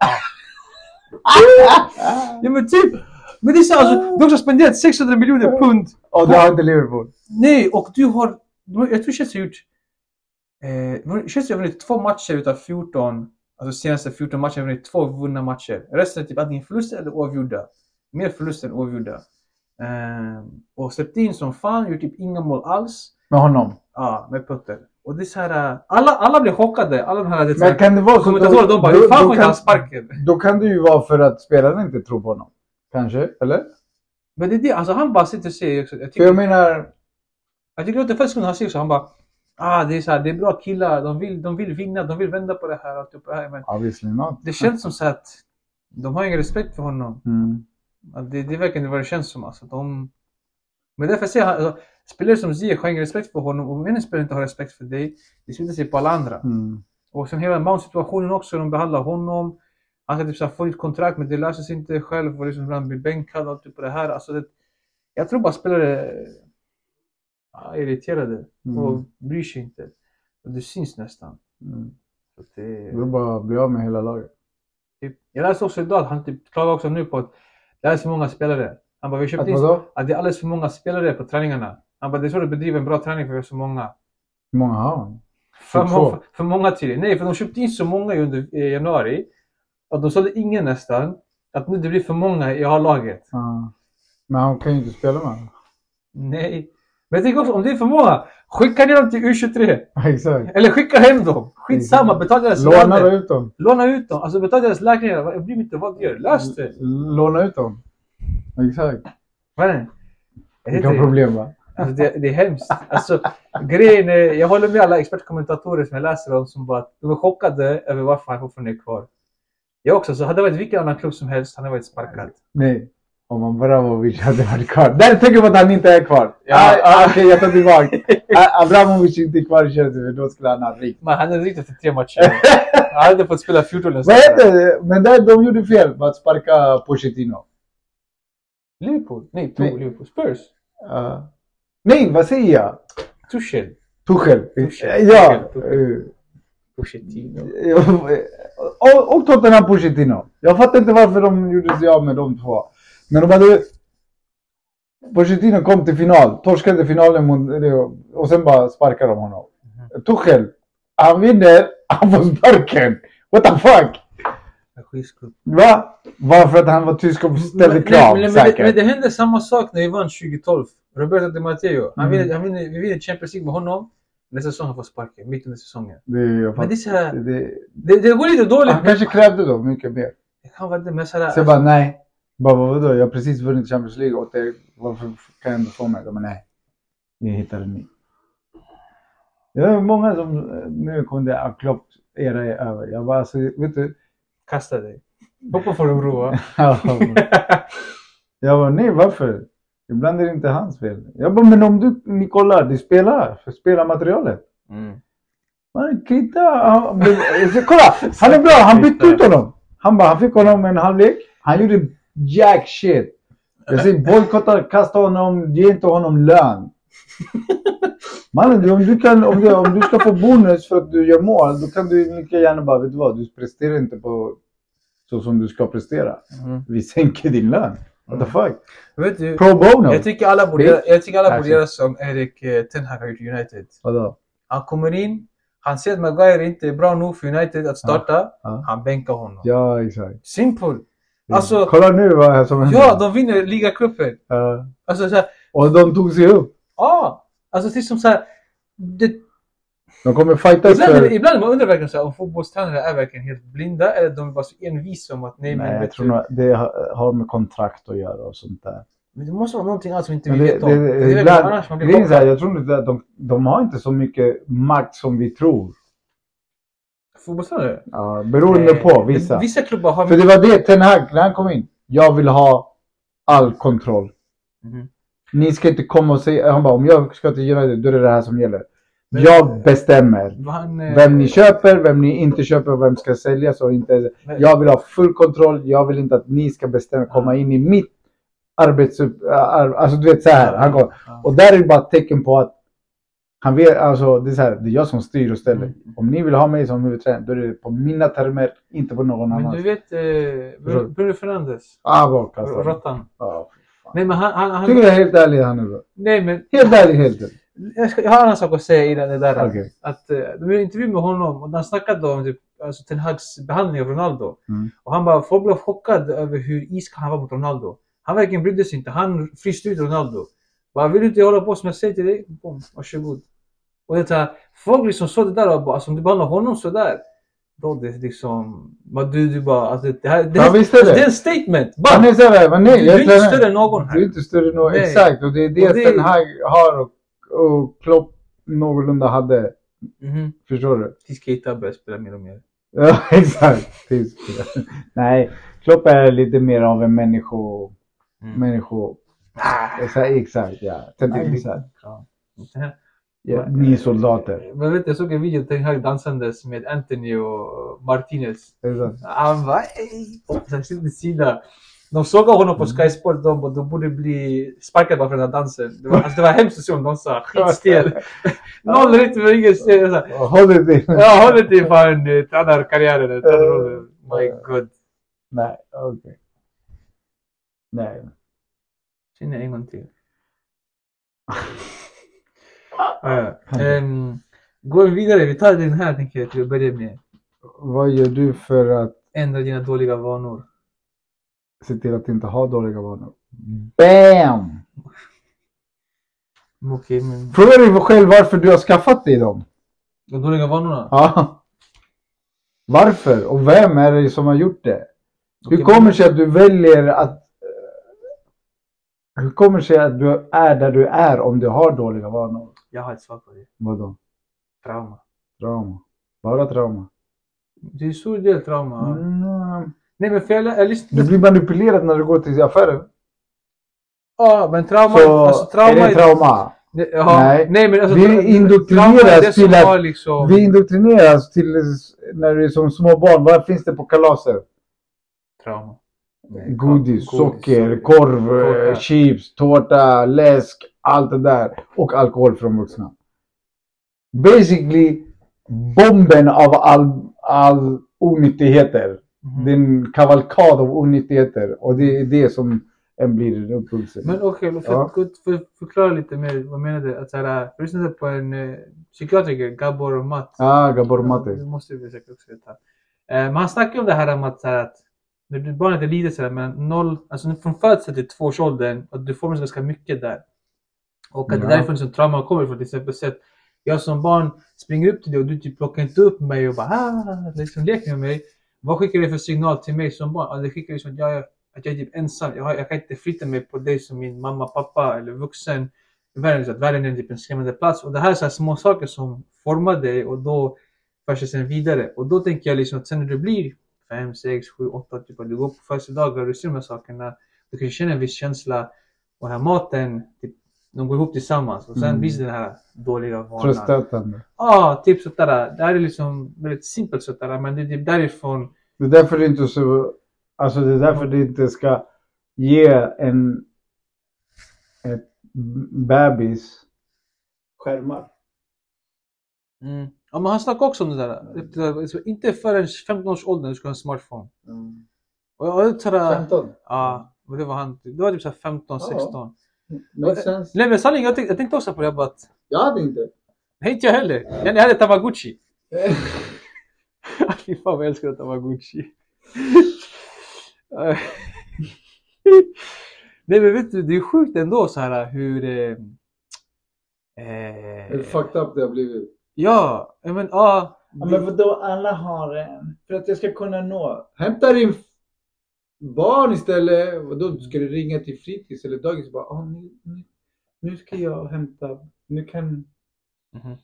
[SPEAKER 1] Ja men typ! Men det är så, alltså, de har spenderat 600 miljoner pund.
[SPEAKER 2] Och du har inte Liverpool.
[SPEAKER 1] Nej, och du har... Jag tror Chelsea har gjort... Eh, Chelsea har vunnit två matcher utav 14. Alltså senaste 14 matcherna har vunnit två vunna matcher. Resten är typ antingen förluster eller oavgjorda. Mer förluster än oavgjorda. Eh, och släppt in som fan, gjort typ inga mål alls.
[SPEAKER 2] Med honom.
[SPEAKER 1] Ja, med putter. Och det är så här... eh, Alla, alla blir chockade. Alla de här... det är så här-
[SPEAKER 2] Men kan det vara så...
[SPEAKER 1] Kommentatorer de bara “Hur fan får inte han
[SPEAKER 2] kan,
[SPEAKER 1] sparken?”
[SPEAKER 2] då kan det ju vara för att spelarna inte tror på honom. Kanske, eller?
[SPEAKER 1] Men det är det, alltså han bara sitter och säger också. Jag
[SPEAKER 2] För
[SPEAKER 1] tycker-
[SPEAKER 2] jag menar...
[SPEAKER 1] Jag tycker att det första gången han ser så, han bara ah, det är så här, det är bra killar, de vill, de vill vinna, de vill vända på det här. Och typ det här. Men
[SPEAKER 2] Ja, visserligen not.
[SPEAKER 1] det känns som så att de har ingen respekt för honom.
[SPEAKER 2] Mm.
[SPEAKER 1] Att det, det verkar inte vad det känns som. Alltså, de... Men därför säger han, alltså, spelare som Ziyech har ingen respekt för honom och om en spelare inte har respekt för dig, det smittar sig på alla andra.
[SPEAKER 2] Mm.
[SPEAKER 1] Och sen hela Mount-situationen också, hur de behandlar honom. Han ska typ så här få ett kontrakt men det löser sig inte själv och liksom ibland blir bänkad och typ på det här. Alltså det, jag tror bara spelare ja, är irriterade
[SPEAKER 2] Mm.
[SPEAKER 1] och bryr sig inte. Och det syns nästan.
[SPEAKER 2] Mm.
[SPEAKER 1] Så att det,
[SPEAKER 2] Då bara att bli av med hela laget.
[SPEAKER 1] typ, jag läste också idag att han typ klagar också nu på att det är så många spelare. Han bara, vi köpte
[SPEAKER 2] Att
[SPEAKER 1] in
[SPEAKER 2] vadå?
[SPEAKER 1] att det är alldeles för många spelare på träningarna. Han bara, det är så du bedriver en bra träning för vi har så många.
[SPEAKER 2] Hur många har han?
[SPEAKER 1] För,
[SPEAKER 2] Två.
[SPEAKER 1] många, för många tydligen. Nej, för de köpte in så många under eh, januari. Att de sålde ingen nästan. Att nu det blir för många i A-laget.
[SPEAKER 2] Ja. Men han kan ju inte spela med honom.
[SPEAKER 1] Nej. Men tänk också, om det är för många, skicka ner dem till U23.
[SPEAKER 2] Exakt.
[SPEAKER 1] Eller skicka hem dem. Skitsamma, betala deras
[SPEAKER 2] Låna
[SPEAKER 1] löner.
[SPEAKER 2] ut dem.
[SPEAKER 1] Låna ut dem. Alltså betala deras läkningar. Vad- Jag bryr mig inte vad du gör. Lös det.
[SPEAKER 2] Låna ut dem. Exakt.
[SPEAKER 1] Vad är det? Jag
[SPEAKER 2] Vilka
[SPEAKER 1] heter-
[SPEAKER 2] problem va?
[SPEAKER 1] Alltså det, det är hemskt. Alltså, grejen är, jag håller med alla expertkommentatorer som jag läser om som bara de är chockade över varför han fortfarande är kvar. Jag också, så hade det varit vilken annan klubb som helst, han hade varit sparkad.
[SPEAKER 2] Nej. Om Abramovic hade varit kvar. Där tänker man att han inte är kvar.
[SPEAKER 1] Ja.
[SPEAKER 2] Ah, ah, Okej, jag tar tillbaka. Ah, Abramovic är inte kvar i Chelsea för då skulle han ha rikt.
[SPEAKER 1] Men han hade rykt efter tre matcher. Han hade fått spela 14 eller
[SPEAKER 2] Vad hette det? Men där, de gjorde fel med att sparka Pochettino.
[SPEAKER 1] Liverpool? Nej, to,
[SPEAKER 2] Nej.
[SPEAKER 1] Liverpool. Spurs?
[SPEAKER 2] Ah. nej, vad säger jag?
[SPEAKER 1] Tuchel?
[SPEAKER 2] Tuchel.
[SPEAKER 1] Tuchel,
[SPEAKER 2] Ja.
[SPEAKER 1] Tuchel.
[SPEAKER 2] eh,
[SPEAKER 1] Pochettino?
[SPEAKER 2] och, och Tottenham Pochettino. Jag fattar inte varför de gjorde sig av med de två. Men de hade... Pochettino kom till final, torskade finalen mot, och sen bara sparkade de honom.
[SPEAKER 1] Mhm.
[SPEAKER 2] Tuchel, han vinner, han får sparken. What the fuck?
[SPEAKER 1] Skitskott.
[SPEAKER 2] Va? Varför att han var tysk och ställde
[SPEAKER 1] Men-
[SPEAKER 2] krav
[SPEAKER 1] nej, men, men,
[SPEAKER 2] säkert.
[SPEAKER 1] det- men det hände samma sak när vi vann 2012. Roberto Di Matteo. Han
[SPEAKER 2] Mm.
[SPEAKER 1] vinner, han vinner, vi vinner Champions League med honom. Nästa säsong han får sparken, mitt under säsongen.
[SPEAKER 2] Det- jag
[SPEAKER 1] Men det är
[SPEAKER 2] fattar.
[SPEAKER 1] så här,
[SPEAKER 2] Det-
[SPEAKER 1] det, det går lite dåligt.
[SPEAKER 2] han kanske krävde då mycket mer.
[SPEAKER 1] Det kan vara det, men sådär,
[SPEAKER 2] Så jag bara nej. Bara "Vad- vadå? Jag har precis vunnit Champions League åt er. Varför kan jag inte få mig? De bara nej. Ni hittade ni. Det är många som eh, nu kom det att Klopp era är över. Jag bara alltså vet du.
[SPEAKER 1] kasta dig. Hoppa får de roa.
[SPEAKER 2] jag bara nej varför? Ibland är det inte hans fel. Jag bara men om du, ni kollar, du spelar, för spela materialet. Mm. Man kritta, han, så kolla! Han är bra, han bytte ut honom. Han bara, han fick honom en halvlek. Han gjorde jack shit. Jag säger bojkotta, kasta honom, ge inte honom lön. Mannen, du- om du, kan, om, du, om du ska få bonus för att du gör mål, då kan du lika gärna bara, vet du vad, du presterar inte på så som du ska prestera.
[SPEAKER 1] Mm.
[SPEAKER 2] Vi sänker din lön. What the fuck?
[SPEAKER 1] Vet du,
[SPEAKER 2] Pro bono?
[SPEAKER 1] jag tycker alla borde,
[SPEAKER 2] Bitch.
[SPEAKER 1] göra- jag tycker alla borde
[SPEAKER 2] Alltså.
[SPEAKER 1] göra som Erik eh, Ten Hag har gjort i United.
[SPEAKER 2] Vadå?
[SPEAKER 1] Han kommer in, han ser att Maguire inte är bra nog för United att starta.
[SPEAKER 2] ja.
[SPEAKER 1] Han bänkar honom.
[SPEAKER 2] Ah. Ja, Mm. exakt.
[SPEAKER 1] Simple. Alltså-
[SPEAKER 2] Kolla nu vad som händer.
[SPEAKER 1] Ja, de vinner ligacupen.
[SPEAKER 2] Ja.
[SPEAKER 1] Alltså såhär,
[SPEAKER 2] Och de tog sig upp.
[SPEAKER 1] ja. alltså det är som såhär. Det,
[SPEAKER 2] De kommer fightas
[SPEAKER 1] ibland,
[SPEAKER 2] för...
[SPEAKER 1] ibland man undrar verkligen såhär, om fotbollstränare är verkligen helt blinda eller de är bara så envisa om att nej,
[SPEAKER 2] Nej,
[SPEAKER 1] men,
[SPEAKER 2] jag
[SPEAKER 1] vet
[SPEAKER 2] tror
[SPEAKER 1] du,
[SPEAKER 2] nog det har har med kontrakt att göra och sånt där.
[SPEAKER 1] men det måste vara någonting annat som inte vi
[SPEAKER 2] Men det,
[SPEAKER 1] vet
[SPEAKER 2] det,
[SPEAKER 1] om. Det är verkligen
[SPEAKER 2] ibland,
[SPEAKER 1] annars man blir
[SPEAKER 2] grejen är så här,
[SPEAKER 1] chockad.
[SPEAKER 2] jag tror inte att de, de har inte så mycket makt som vi tror.
[SPEAKER 1] Fotbollstränare?
[SPEAKER 2] Ja, beroende
[SPEAKER 1] Eh,
[SPEAKER 2] på vissa.
[SPEAKER 1] Vissa klubbar har...
[SPEAKER 2] För det var det Ten Hag, när han kom in. Jag vill ha all kontroll.
[SPEAKER 1] Mhm.
[SPEAKER 2] Ni ska inte komma och säga... Han bara, om jag ska till United, då är det det här som gäller.
[SPEAKER 1] Men-
[SPEAKER 2] jag bestämmer.
[SPEAKER 1] Han, eh,
[SPEAKER 2] Vem ni köper, vem ni inte köper, vem ska säljas och inte.
[SPEAKER 1] men-
[SPEAKER 2] Jag vill ha full kontroll. Jag vill inte att ni ska bestämma, komma in i mitt arbetsupp... äh, ar- Alltså du vet så här. Han går.
[SPEAKER 1] Ja.
[SPEAKER 2] Och där är det bara ett tecken på att han vet, alltså det är så här, det är jag som styr och ställer.
[SPEAKER 1] Mm.
[SPEAKER 2] Om ni vill ha mig som huvudtränare, då är det på mina termer, inte på någon
[SPEAKER 1] Men
[SPEAKER 2] annans.
[SPEAKER 1] du vet, eh, Bru- Bruno Fernandes.
[SPEAKER 2] Ah, bort alltså.
[SPEAKER 1] Råttan.
[SPEAKER 2] Ja.
[SPEAKER 1] Nej men han... han,
[SPEAKER 2] Tycker
[SPEAKER 1] han
[SPEAKER 2] du helt ärligt han är bra?
[SPEAKER 1] nej men,
[SPEAKER 2] Helt ärligt, helt ärligt.
[SPEAKER 1] jag, ska, jag har en annan sak att säga i den- det där.
[SPEAKER 2] Okej.
[SPEAKER 1] Att, eh, de gjorde en intervju med honom och han snackade om typ, alltså, Ten Hags behandling av Ronaldo.
[SPEAKER 2] Mm.
[SPEAKER 1] Och han bara, folk blev chockade över hur iskall han var mot Ronaldo. Han verkligen brydde sig inte. Han fryste ut Ronaldo. Bara, vill du inte hålla på som jag säger till dig? Bom, varsågod. Och det här, folk liksom såg det där och bara, alltså, om du behandlar honom sådär. Då det är liksom, bara, du, du bara, alltså, det här, det,
[SPEAKER 2] Ja, visst är det.
[SPEAKER 1] det är en statement. Bara,
[SPEAKER 2] Han är så här, men nej,
[SPEAKER 1] du,
[SPEAKER 2] jag
[SPEAKER 1] du är inte
[SPEAKER 2] tränar-
[SPEAKER 1] större än någon
[SPEAKER 2] Du är
[SPEAKER 1] här.
[SPEAKER 2] inte större än någon,
[SPEAKER 1] Nej.
[SPEAKER 2] exakt. Och det är det,
[SPEAKER 1] Och det-
[SPEAKER 2] Ten Hag har och, och Klopp någorlunda hade.
[SPEAKER 1] Mhm.
[SPEAKER 2] Förstår du?
[SPEAKER 1] Tills Keita börjar spela mer och mer.
[SPEAKER 2] Ja, exakt. Tysk. nej, Klopp är lite mer av en människo...
[SPEAKER 1] Mm.
[SPEAKER 2] människo...
[SPEAKER 1] Ah.
[SPEAKER 2] Exakt, exakt ja. Tänkte inte så här.
[SPEAKER 1] Ja.
[SPEAKER 2] Ja, ni är soldater.
[SPEAKER 1] Men vet du, jag såg en video Ten Hag dansandes med Anthony och Martinez.
[SPEAKER 2] Exakt.
[SPEAKER 1] Han bara "Ey!" Och sen sida vid sida. De såg honom på Sky Sport de bara, de borde bli sparkade bara för den här dansen. Det var, alltså, det var hemskt att se dem dansa. Skitstel. Noll rytm, ingen stel. så här.
[SPEAKER 2] Håll dig till.
[SPEAKER 1] Jag håller till fan eh, tränarkarriären. eller tränarrollen. My god.
[SPEAKER 2] Nej, okej. Nej.
[SPEAKER 1] Känner en gång till. ja, ja. Ehm, går vi vidare, vi tar den här tänker jag till att börja med.
[SPEAKER 3] Vad gör du för att
[SPEAKER 1] Ändra dina dåliga vanor.
[SPEAKER 3] se till att inte ha dåliga vanor? Bam!
[SPEAKER 1] Okej, men
[SPEAKER 3] Frågar dig själv varför du har skaffat dig dem?
[SPEAKER 1] de dåliga vanorna?
[SPEAKER 3] Ja. Varför? Och vem är det som har gjort det? Hur
[SPEAKER 1] Okej,
[SPEAKER 3] kommer
[SPEAKER 1] men-
[SPEAKER 3] det sig att du väljer att... eh, Hur kommer det sig att du är där du är om du har dåliga vanor?
[SPEAKER 1] Jag har ett svar på det.
[SPEAKER 3] Vadå?
[SPEAKER 1] Trauma.
[SPEAKER 3] Trauma? Bara trauma?
[SPEAKER 1] Det är en stor del trauma.
[SPEAKER 3] Mm.
[SPEAKER 1] Nej men för jag, jag lyssnar.
[SPEAKER 3] Du blir manipulerad när du går till affären.
[SPEAKER 1] Ja, men trauma,
[SPEAKER 3] Så
[SPEAKER 1] alltså trauma
[SPEAKER 3] är det trauma.
[SPEAKER 1] Nej, ja.
[SPEAKER 3] Nej.
[SPEAKER 1] Nej men alltså,
[SPEAKER 3] e, Vi
[SPEAKER 1] tra-
[SPEAKER 3] indoktrineras
[SPEAKER 1] trauma är det som
[SPEAKER 3] till att-
[SPEAKER 1] har liksom...
[SPEAKER 3] Vi indoktrineras till när du är som små barn. Vad finns det på kalaser?
[SPEAKER 1] Trauma.
[SPEAKER 3] Godis, socker,
[SPEAKER 1] sorry.
[SPEAKER 3] korv,
[SPEAKER 1] Tårta.
[SPEAKER 3] eh, chips, tårta, läsk, allt det där. Och alkohol från vuxna. Basically bomben av all, all onyttigheter.
[SPEAKER 1] Mhm.
[SPEAKER 3] Det är en kavalkad av onyttigheter. Och det är det som en blir uppvuxen.
[SPEAKER 1] Men okej, okay,
[SPEAKER 3] Ja.
[SPEAKER 1] för, för, förklara lite mer. Vad menar du? Att, så här, jag lyssnade på en eh, psykiatriker, Gabor Mat.
[SPEAKER 3] Ah, Gabor Mate.
[SPEAKER 1] Det måste vi säkert också veta. Eh, men han snackar om det här om att, så här, att när du, barnet är litet, så här, men noll, alltså från födseln till tvåårsåldern, att du får ganska mycket där. Och att det
[SPEAKER 3] Ja.
[SPEAKER 1] är därifrån som trauma kommer ifrån. Till exempel så att jag som barn springer upp till dig och du typ plockar inte upp mig och bara ah, liksom leker med mig. Vad skickar det för signal till mig som barn? Ja, det skickar liksom att jag, är- att jag är typ ensam. Jag, har, jag kan inte flytta mig på dig som min mamma, pappa eller vuxen. Världen, så att världen är typ en skrämmande plats. Och det här är så här små saker som formar dig och då förs det sen vidare. Och då tänker jag liksom att sen när du blir 5, 6, 7, 8, typ att du går på födelsedagar och du ser de här sakerna. Du kan känna en viss känsla och den här maten, typ, de går ihop tillsammans. Och sen
[SPEAKER 3] Mm.
[SPEAKER 1] blir det den här dåliga vanan.
[SPEAKER 3] Tröststötande.
[SPEAKER 1] Ja, typ sådär. Det här är liksom väldigt simpelt sådär, men det är typ därifrån.
[SPEAKER 3] Det är därför det inte så... Alltså det är därför det inte ska ge en... Ett bebis... Skärmar.
[SPEAKER 1] Ja, men han snackade också om det där. Efter- alltså, Inte förrän 15 års ålder du ska ha en smartphone. Och jag var sådär,
[SPEAKER 3] 15.
[SPEAKER 1] ja, och det var han. Det var typ såhär 15, 16.
[SPEAKER 3] Makes sense.
[SPEAKER 1] Nej men sanningen, jag tänkte, jag tänkte också på det. Jag bara att,
[SPEAKER 3] Jag hade inte.
[SPEAKER 1] nej inte jag heller. Jag hade Tamagotchi. Fy fan vad jag älskar Tamagotchi. Eh, nej men vet du, det är sjukt ändå så här hur... Eh, eh,
[SPEAKER 3] fucked up det har blivit.
[SPEAKER 1] Ja, ja, men ja.
[SPEAKER 4] Ja, men vadå, alla har en. För att jag ska kunna nå.
[SPEAKER 2] Hämta din f- barn istället. Vadå, du ska ringa till fritids eller dagis och bara "Åh, nu, nu, nu ska jag hämta. Nu kan...
[SPEAKER 1] Mhm.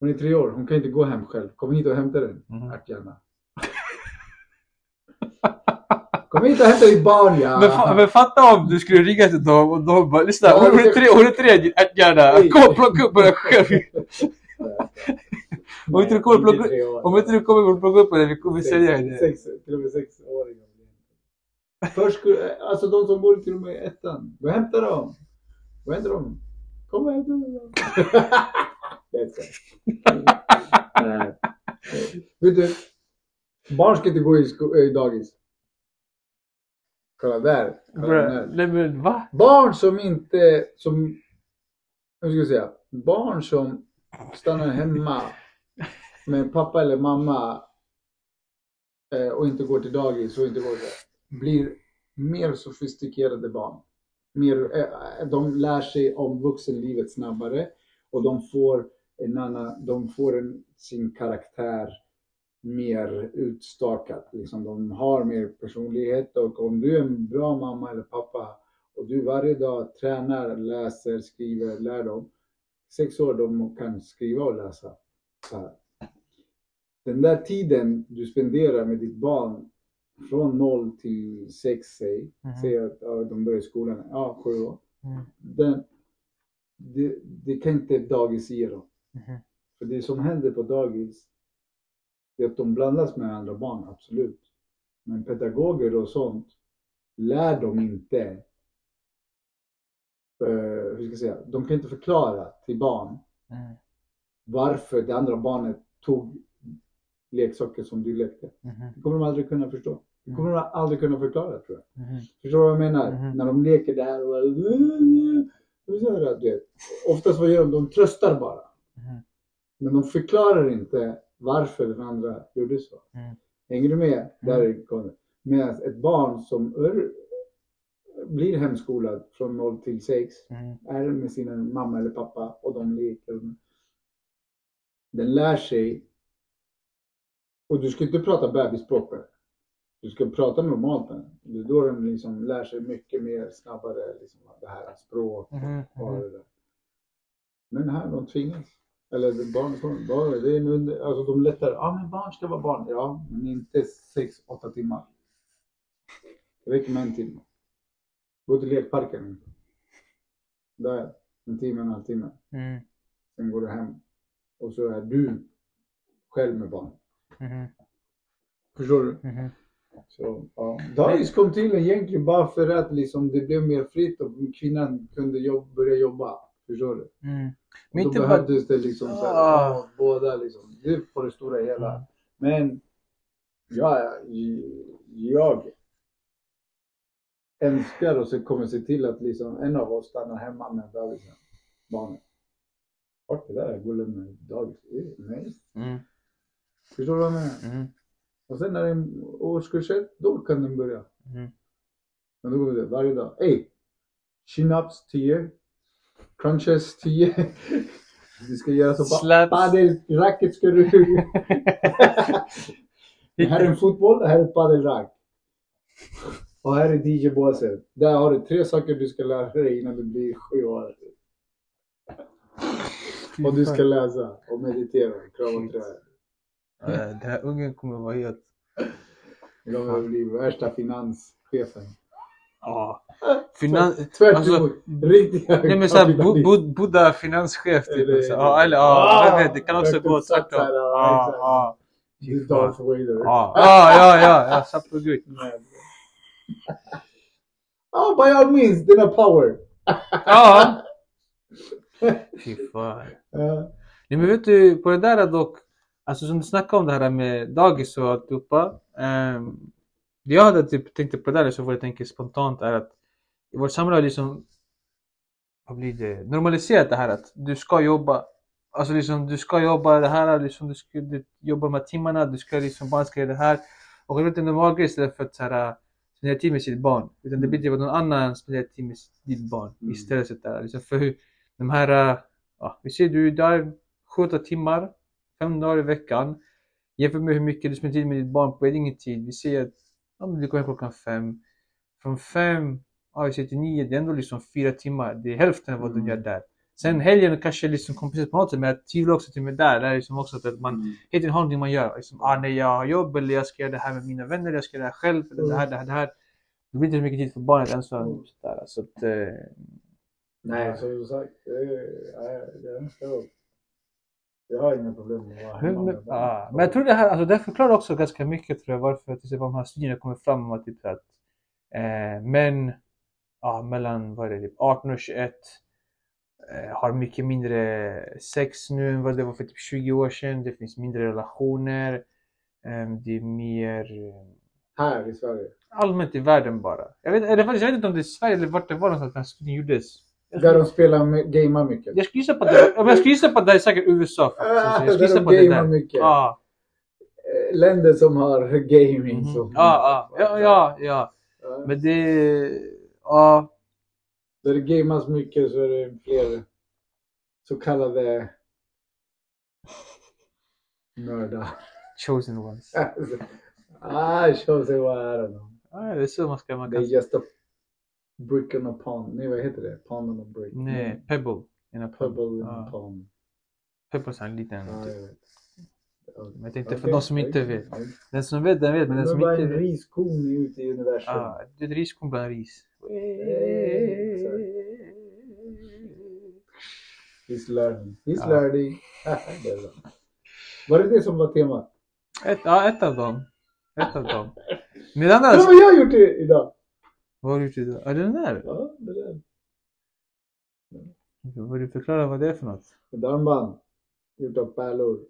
[SPEAKER 2] Hon är tre år, hon kan inte gå hem själv. Kom hit och hämta den,
[SPEAKER 1] Mhm.
[SPEAKER 2] Artjana. Kom hit och hämta ditt barn ja!
[SPEAKER 1] Men, fa- men fatta om du skulle ringa till dem och de bara lyssna,
[SPEAKER 2] Ja,
[SPEAKER 1] hon är
[SPEAKER 2] det-
[SPEAKER 1] tre, hon är tre din ärthjärna.
[SPEAKER 2] Nej.
[SPEAKER 1] Kom och plocka upp den själv. Om inte du kommer
[SPEAKER 2] Nej,
[SPEAKER 1] plocka-
[SPEAKER 2] tre år.
[SPEAKER 1] Om inte du kommer och plocka upp den, vi kommer sälja
[SPEAKER 2] sex,
[SPEAKER 1] den.
[SPEAKER 2] sex, till och med sexåringar. Först skulle, alltså de som bor i till och med ettan. Gå och hämta dem. Gå och hämta dem. Kom och hämta dem. Jag älskar det. Nej. Vet du, barn ska inte gå i, sko- i dagis. Kolla där. Kolla där.
[SPEAKER 1] Nej men va?
[SPEAKER 2] Barn som inte, som, hur ska jag säga, barn som stannar hemma med pappa eller mamma eh, och inte går till dagis och inte går till, blir mer sofistikerade barn. Mer, eh, de lär sig om vuxenlivet snabbare och de får en annan, de får en, sin karaktär mer utstakat. Liksom de har mer personlighet och om du är en bra mamma eller pappa och du varje dag tränar, läser, skriver, lär dem. Sex år, de kan skriva och läsa. Så här. Den där tiden du spenderar med ditt barn från 0 till 6, säg,
[SPEAKER 1] Mhm.
[SPEAKER 2] säg att ja, de börjar skolan, ja, 7 år.
[SPEAKER 1] Mm.
[SPEAKER 2] Den, det, det kan inte ett dagis ge dem.
[SPEAKER 1] Mhm.
[SPEAKER 2] För det som händer på dagis, det är att de blandas med andra barn, absolut. Men pedagoger och sånt lär dem inte eh, hur ska jag säga, de kan inte förklara till barn
[SPEAKER 1] Mm.
[SPEAKER 2] varför det andra barnet tog leksaker som du lekte.
[SPEAKER 1] Mhm.
[SPEAKER 2] Det kommer de aldrig kunna förstå. Det kommer de aldrig kunna förklara tror jag.
[SPEAKER 1] Mhm.
[SPEAKER 2] Förstår du vad jag menar?
[SPEAKER 1] Mhm.
[SPEAKER 2] När de leker det här och "Äh, bara... äh." Du vet. Oftast vad gör de? De tröstar bara.
[SPEAKER 1] Mhm.
[SPEAKER 2] Men de förklarar inte varför den andra gjorde så.
[SPEAKER 1] Mm.
[SPEAKER 2] Hänger du med? Där kommer det. Medan ett barn som är, blir hemskolad från 0 till 6
[SPEAKER 1] Mm.
[SPEAKER 2] är med sin mamma eller pappa och de leker. Den lär sig. Och du ska inte prata bebisspråk med den. Du ska prata normalt med den. Det är då den liksom lär sig mycket mer snabbare. Liksom, det här språk
[SPEAKER 1] Mhm.
[SPEAKER 2] och det där. Men här, de tvingas. Eller det- barn, barn, barn det är en under, alltså de lättar. Ja, men barn ska vara barn. Ja, men inte sex, åtta timmar. Det räcker med en timme. Gå till lekparken. Där, en timme, en halvtimme.
[SPEAKER 1] Mm.
[SPEAKER 2] Sen går du hem. Och så är du själv med barn.
[SPEAKER 1] Mhm.
[SPEAKER 2] Förstår du?
[SPEAKER 1] Mhm.
[SPEAKER 2] Så, ja. Dagis kom till egentligen bara för att liksom, det blev mer fritt och kvinnan kunde jobb, börja jobba. Förstår du?
[SPEAKER 1] Mm. Men
[SPEAKER 2] Men
[SPEAKER 1] inte
[SPEAKER 2] inte
[SPEAKER 1] bara...
[SPEAKER 2] behövdes det liksom så här,
[SPEAKER 1] Ah.
[SPEAKER 2] ja, båda liksom. Det är på det stora hela.
[SPEAKER 1] Mm.
[SPEAKER 2] Men ja, jag önskar och så kommer se till att liksom en av oss stannar hemma med bebisen, barnet. Bort det där, gå och lämna dagis. Eh, Nej.
[SPEAKER 1] Mm.
[SPEAKER 2] Förstår du vad jag menar?
[SPEAKER 1] Mm.
[SPEAKER 2] Och sen när den är årskurs ett, då kan den börja.
[SPEAKER 1] Mm.
[SPEAKER 2] Men då går det varje dag. Ey! Chin-ups 10. Crunches 10. Du ska göra så
[SPEAKER 1] Slaps.
[SPEAKER 2] Padelracket ska du... det här är en fotboll, det här är padelrack. Och här är DJ-båset. Där har du tre saker du ska lära dig innan du blir sju år. Och du ska läsa och meditera. Krama
[SPEAKER 1] Mm, Shit.
[SPEAKER 2] träd.
[SPEAKER 1] Eh, Den här ungen kommer vara helt...
[SPEAKER 2] Jag kommer bli värsta finanschefen.
[SPEAKER 1] Ja. Finan...
[SPEAKER 2] Tvärtom.
[SPEAKER 1] Alltså-
[SPEAKER 2] riktiga
[SPEAKER 1] Nej men såhär, bu,
[SPEAKER 2] kapitalister.
[SPEAKER 1] bu, Buddha finanschef typ.
[SPEAKER 2] Eller-
[SPEAKER 1] Så, Ja, eller ja, jag
[SPEAKER 2] Ah,
[SPEAKER 1] vet. Det kan också
[SPEAKER 2] verkligen
[SPEAKER 1] gå
[SPEAKER 2] satt
[SPEAKER 1] tvärtom.
[SPEAKER 2] så här, ja,
[SPEAKER 1] Ja,
[SPEAKER 2] exakt.
[SPEAKER 1] ja.
[SPEAKER 2] Det är Darth Vader.
[SPEAKER 1] Ja, ah. ja, ja, ja. Jag satt på gud.
[SPEAKER 2] Ja, Ah, by all means, den har power.
[SPEAKER 1] Ja. Fy fan.
[SPEAKER 2] Eh,
[SPEAKER 1] Nej men vet du, på det där dock, alltså som du snackade om det här med dagis och alltihopa. Um, det jag hade typ tänkte på det där, så vad jag tänker spontant är att i vårt samhälle har liksom, vad blir det, normaliserat det här att du ska jobba. Alltså liksom du ska jobba det här, liksom, du ska du jobba de här timmarna, du ska liksom, barn ska göra det här. Och det är inte en normal grej istället för att så här, spendera tid med sitt barn. Utan det blir typ att någon annan spenderar tid med sitt- ditt barn
[SPEAKER 2] Mm.
[SPEAKER 1] istället. Så där. Liksom för hur, de här, äh, ja, vi ser du är där 7 timmar, fem dagar i veckan. Jämför med hur mycket du spenderar tid med ditt barn på egen tid. Vi ser att ja, men du går hem klockan fem. Från fem, ja, vi ser till nio, det är ändå liksom fyra timmar. Det är hälften av vad
[SPEAKER 2] Mm.
[SPEAKER 1] du gör där. Sen helgen kanske liksom kompenseras på något sätt, men jag tvivlar också till mig där. Det är liksom också att man hela tiden har någonting man gör. Liksom, ah, nej, jag har jobb eller jag ska göra det här med mina vänner, jag ska göra det här själv, eller
[SPEAKER 2] Mm.
[SPEAKER 1] det här, det här, det här. Det blir inte så mycket tid för barnet ens. Mm. Så att, eh,
[SPEAKER 2] Nej, alltså, som sagt. det är- nej, Jag önskar att- jag har inga problem med att vara
[SPEAKER 1] men,
[SPEAKER 2] hemma
[SPEAKER 1] men,
[SPEAKER 2] med
[SPEAKER 1] ja,
[SPEAKER 2] barn.
[SPEAKER 1] ah, men jag tror det här, alltså, det här förklarar också ganska mycket tror jag, varför till exempel de här studierna kommer fram om att, typ, så att eh, män ja, mellan vad är det, typ 18 och 21 eh, har mycket mindre sex nu än vad det var för typ 20 år sedan. Det finns mindre relationer. Eh, det är mer eh,
[SPEAKER 2] Här i Sverige.
[SPEAKER 1] allmänt i världen bara. Jag vet, eller faktiskt, jag vet inte om det är Sverige eller vart det var någonstans den här studien gjordes. Jag
[SPEAKER 2] Där de
[SPEAKER 1] skulle,
[SPEAKER 2] spelar, med- gamar mycket.
[SPEAKER 1] jag skulle gissa på att det var, ja, men jag skulle gissa på att det är säkert USA faktiskt.
[SPEAKER 2] Ah,
[SPEAKER 1] Jag skulle
[SPEAKER 2] där
[SPEAKER 1] gissa
[SPEAKER 2] de
[SPEAKER 1] på att det är
[SPEAKER 2] gamar
[SPEAKER 1] där. Ah.
[SPEAKER 2] mycket.
[SPEAKER 1] Ja,
[SPEAKER 2] Eh, Länder som har gaming.
[SPEAKER 1] mhm.
[SPEAKER 2] som-
[SPEAKER 1] ja, ja, ja, ja, ja.
[SPEAKER 2] Ja.
[SPEAKER 1] Men det, ja,
[SPEAKER 2] Där det gamas mycket så är det fler så kallade nördar.
[SPEAKER 1] chosen ones.
[SPEAKER 2] ah, show sig vad är det då?
[SPEAKER 1] Ja, det är så man ska, man
[SPEAKER 2] Det är
[SPEAKER 1] kan,
[SPEAKER 2] just a brick on a pond. Nej, vad heter det? Pond on a brick.
[SPEAKER 1] nej, pebble. In a
[SPEAKER 2] Pebble
[SPEAKER 1] Mm. pebble.
[SPEAKER 2] in a
[SPEAKER 1] Ja,
[SPEAKER 2] pond.
[SPEAKER 1] pebble är en liten,
[SPEAKER 2] Ja,
[SPEAKER 1] typ.
[SPEAKER 2] jag vet.
[SPEAKER 1] Men jag tänkte för
[SPEAKER 2] Okej,
[SPEAKER 1] de som inte
[SPEAKER 2] okej.
[SPEAKER 1] vet. Den som vet, den vet, men den
[SPEAKER 2] Men
[SPEAKER 1] som
[SPEAKER 2] vad är
[SPEAKER 1] inte
[SPEAKER 2] en
[SPEAKER 1] vet.
[SPEAKER 2] riskorn ute i universum?
[SPEAKER 1] Ja, det är ett riskorn bland ris.
[SPEAKER 2] He's learning. He's
[SPEAKER 1] Ja.
[SPEAKER 2] learning. Det är bra. Var det det som var temat?
[SPEAKER 1] Ett, ja, ett av dem. Ett av dem. Men den
[SPEAKER 2] Det
[SPEAKER 1] andra...
[SPEAKER 2] har jag gjort det idag!
[SPEAKER 1] Vad har du gjort idag? Är det den där?
[SPEAKER 2] Ja, det där.
[SPEAKER 1] Vad du förklara vad det är för något?
[SPEAKER 2] Ett armband gjort av pärlor.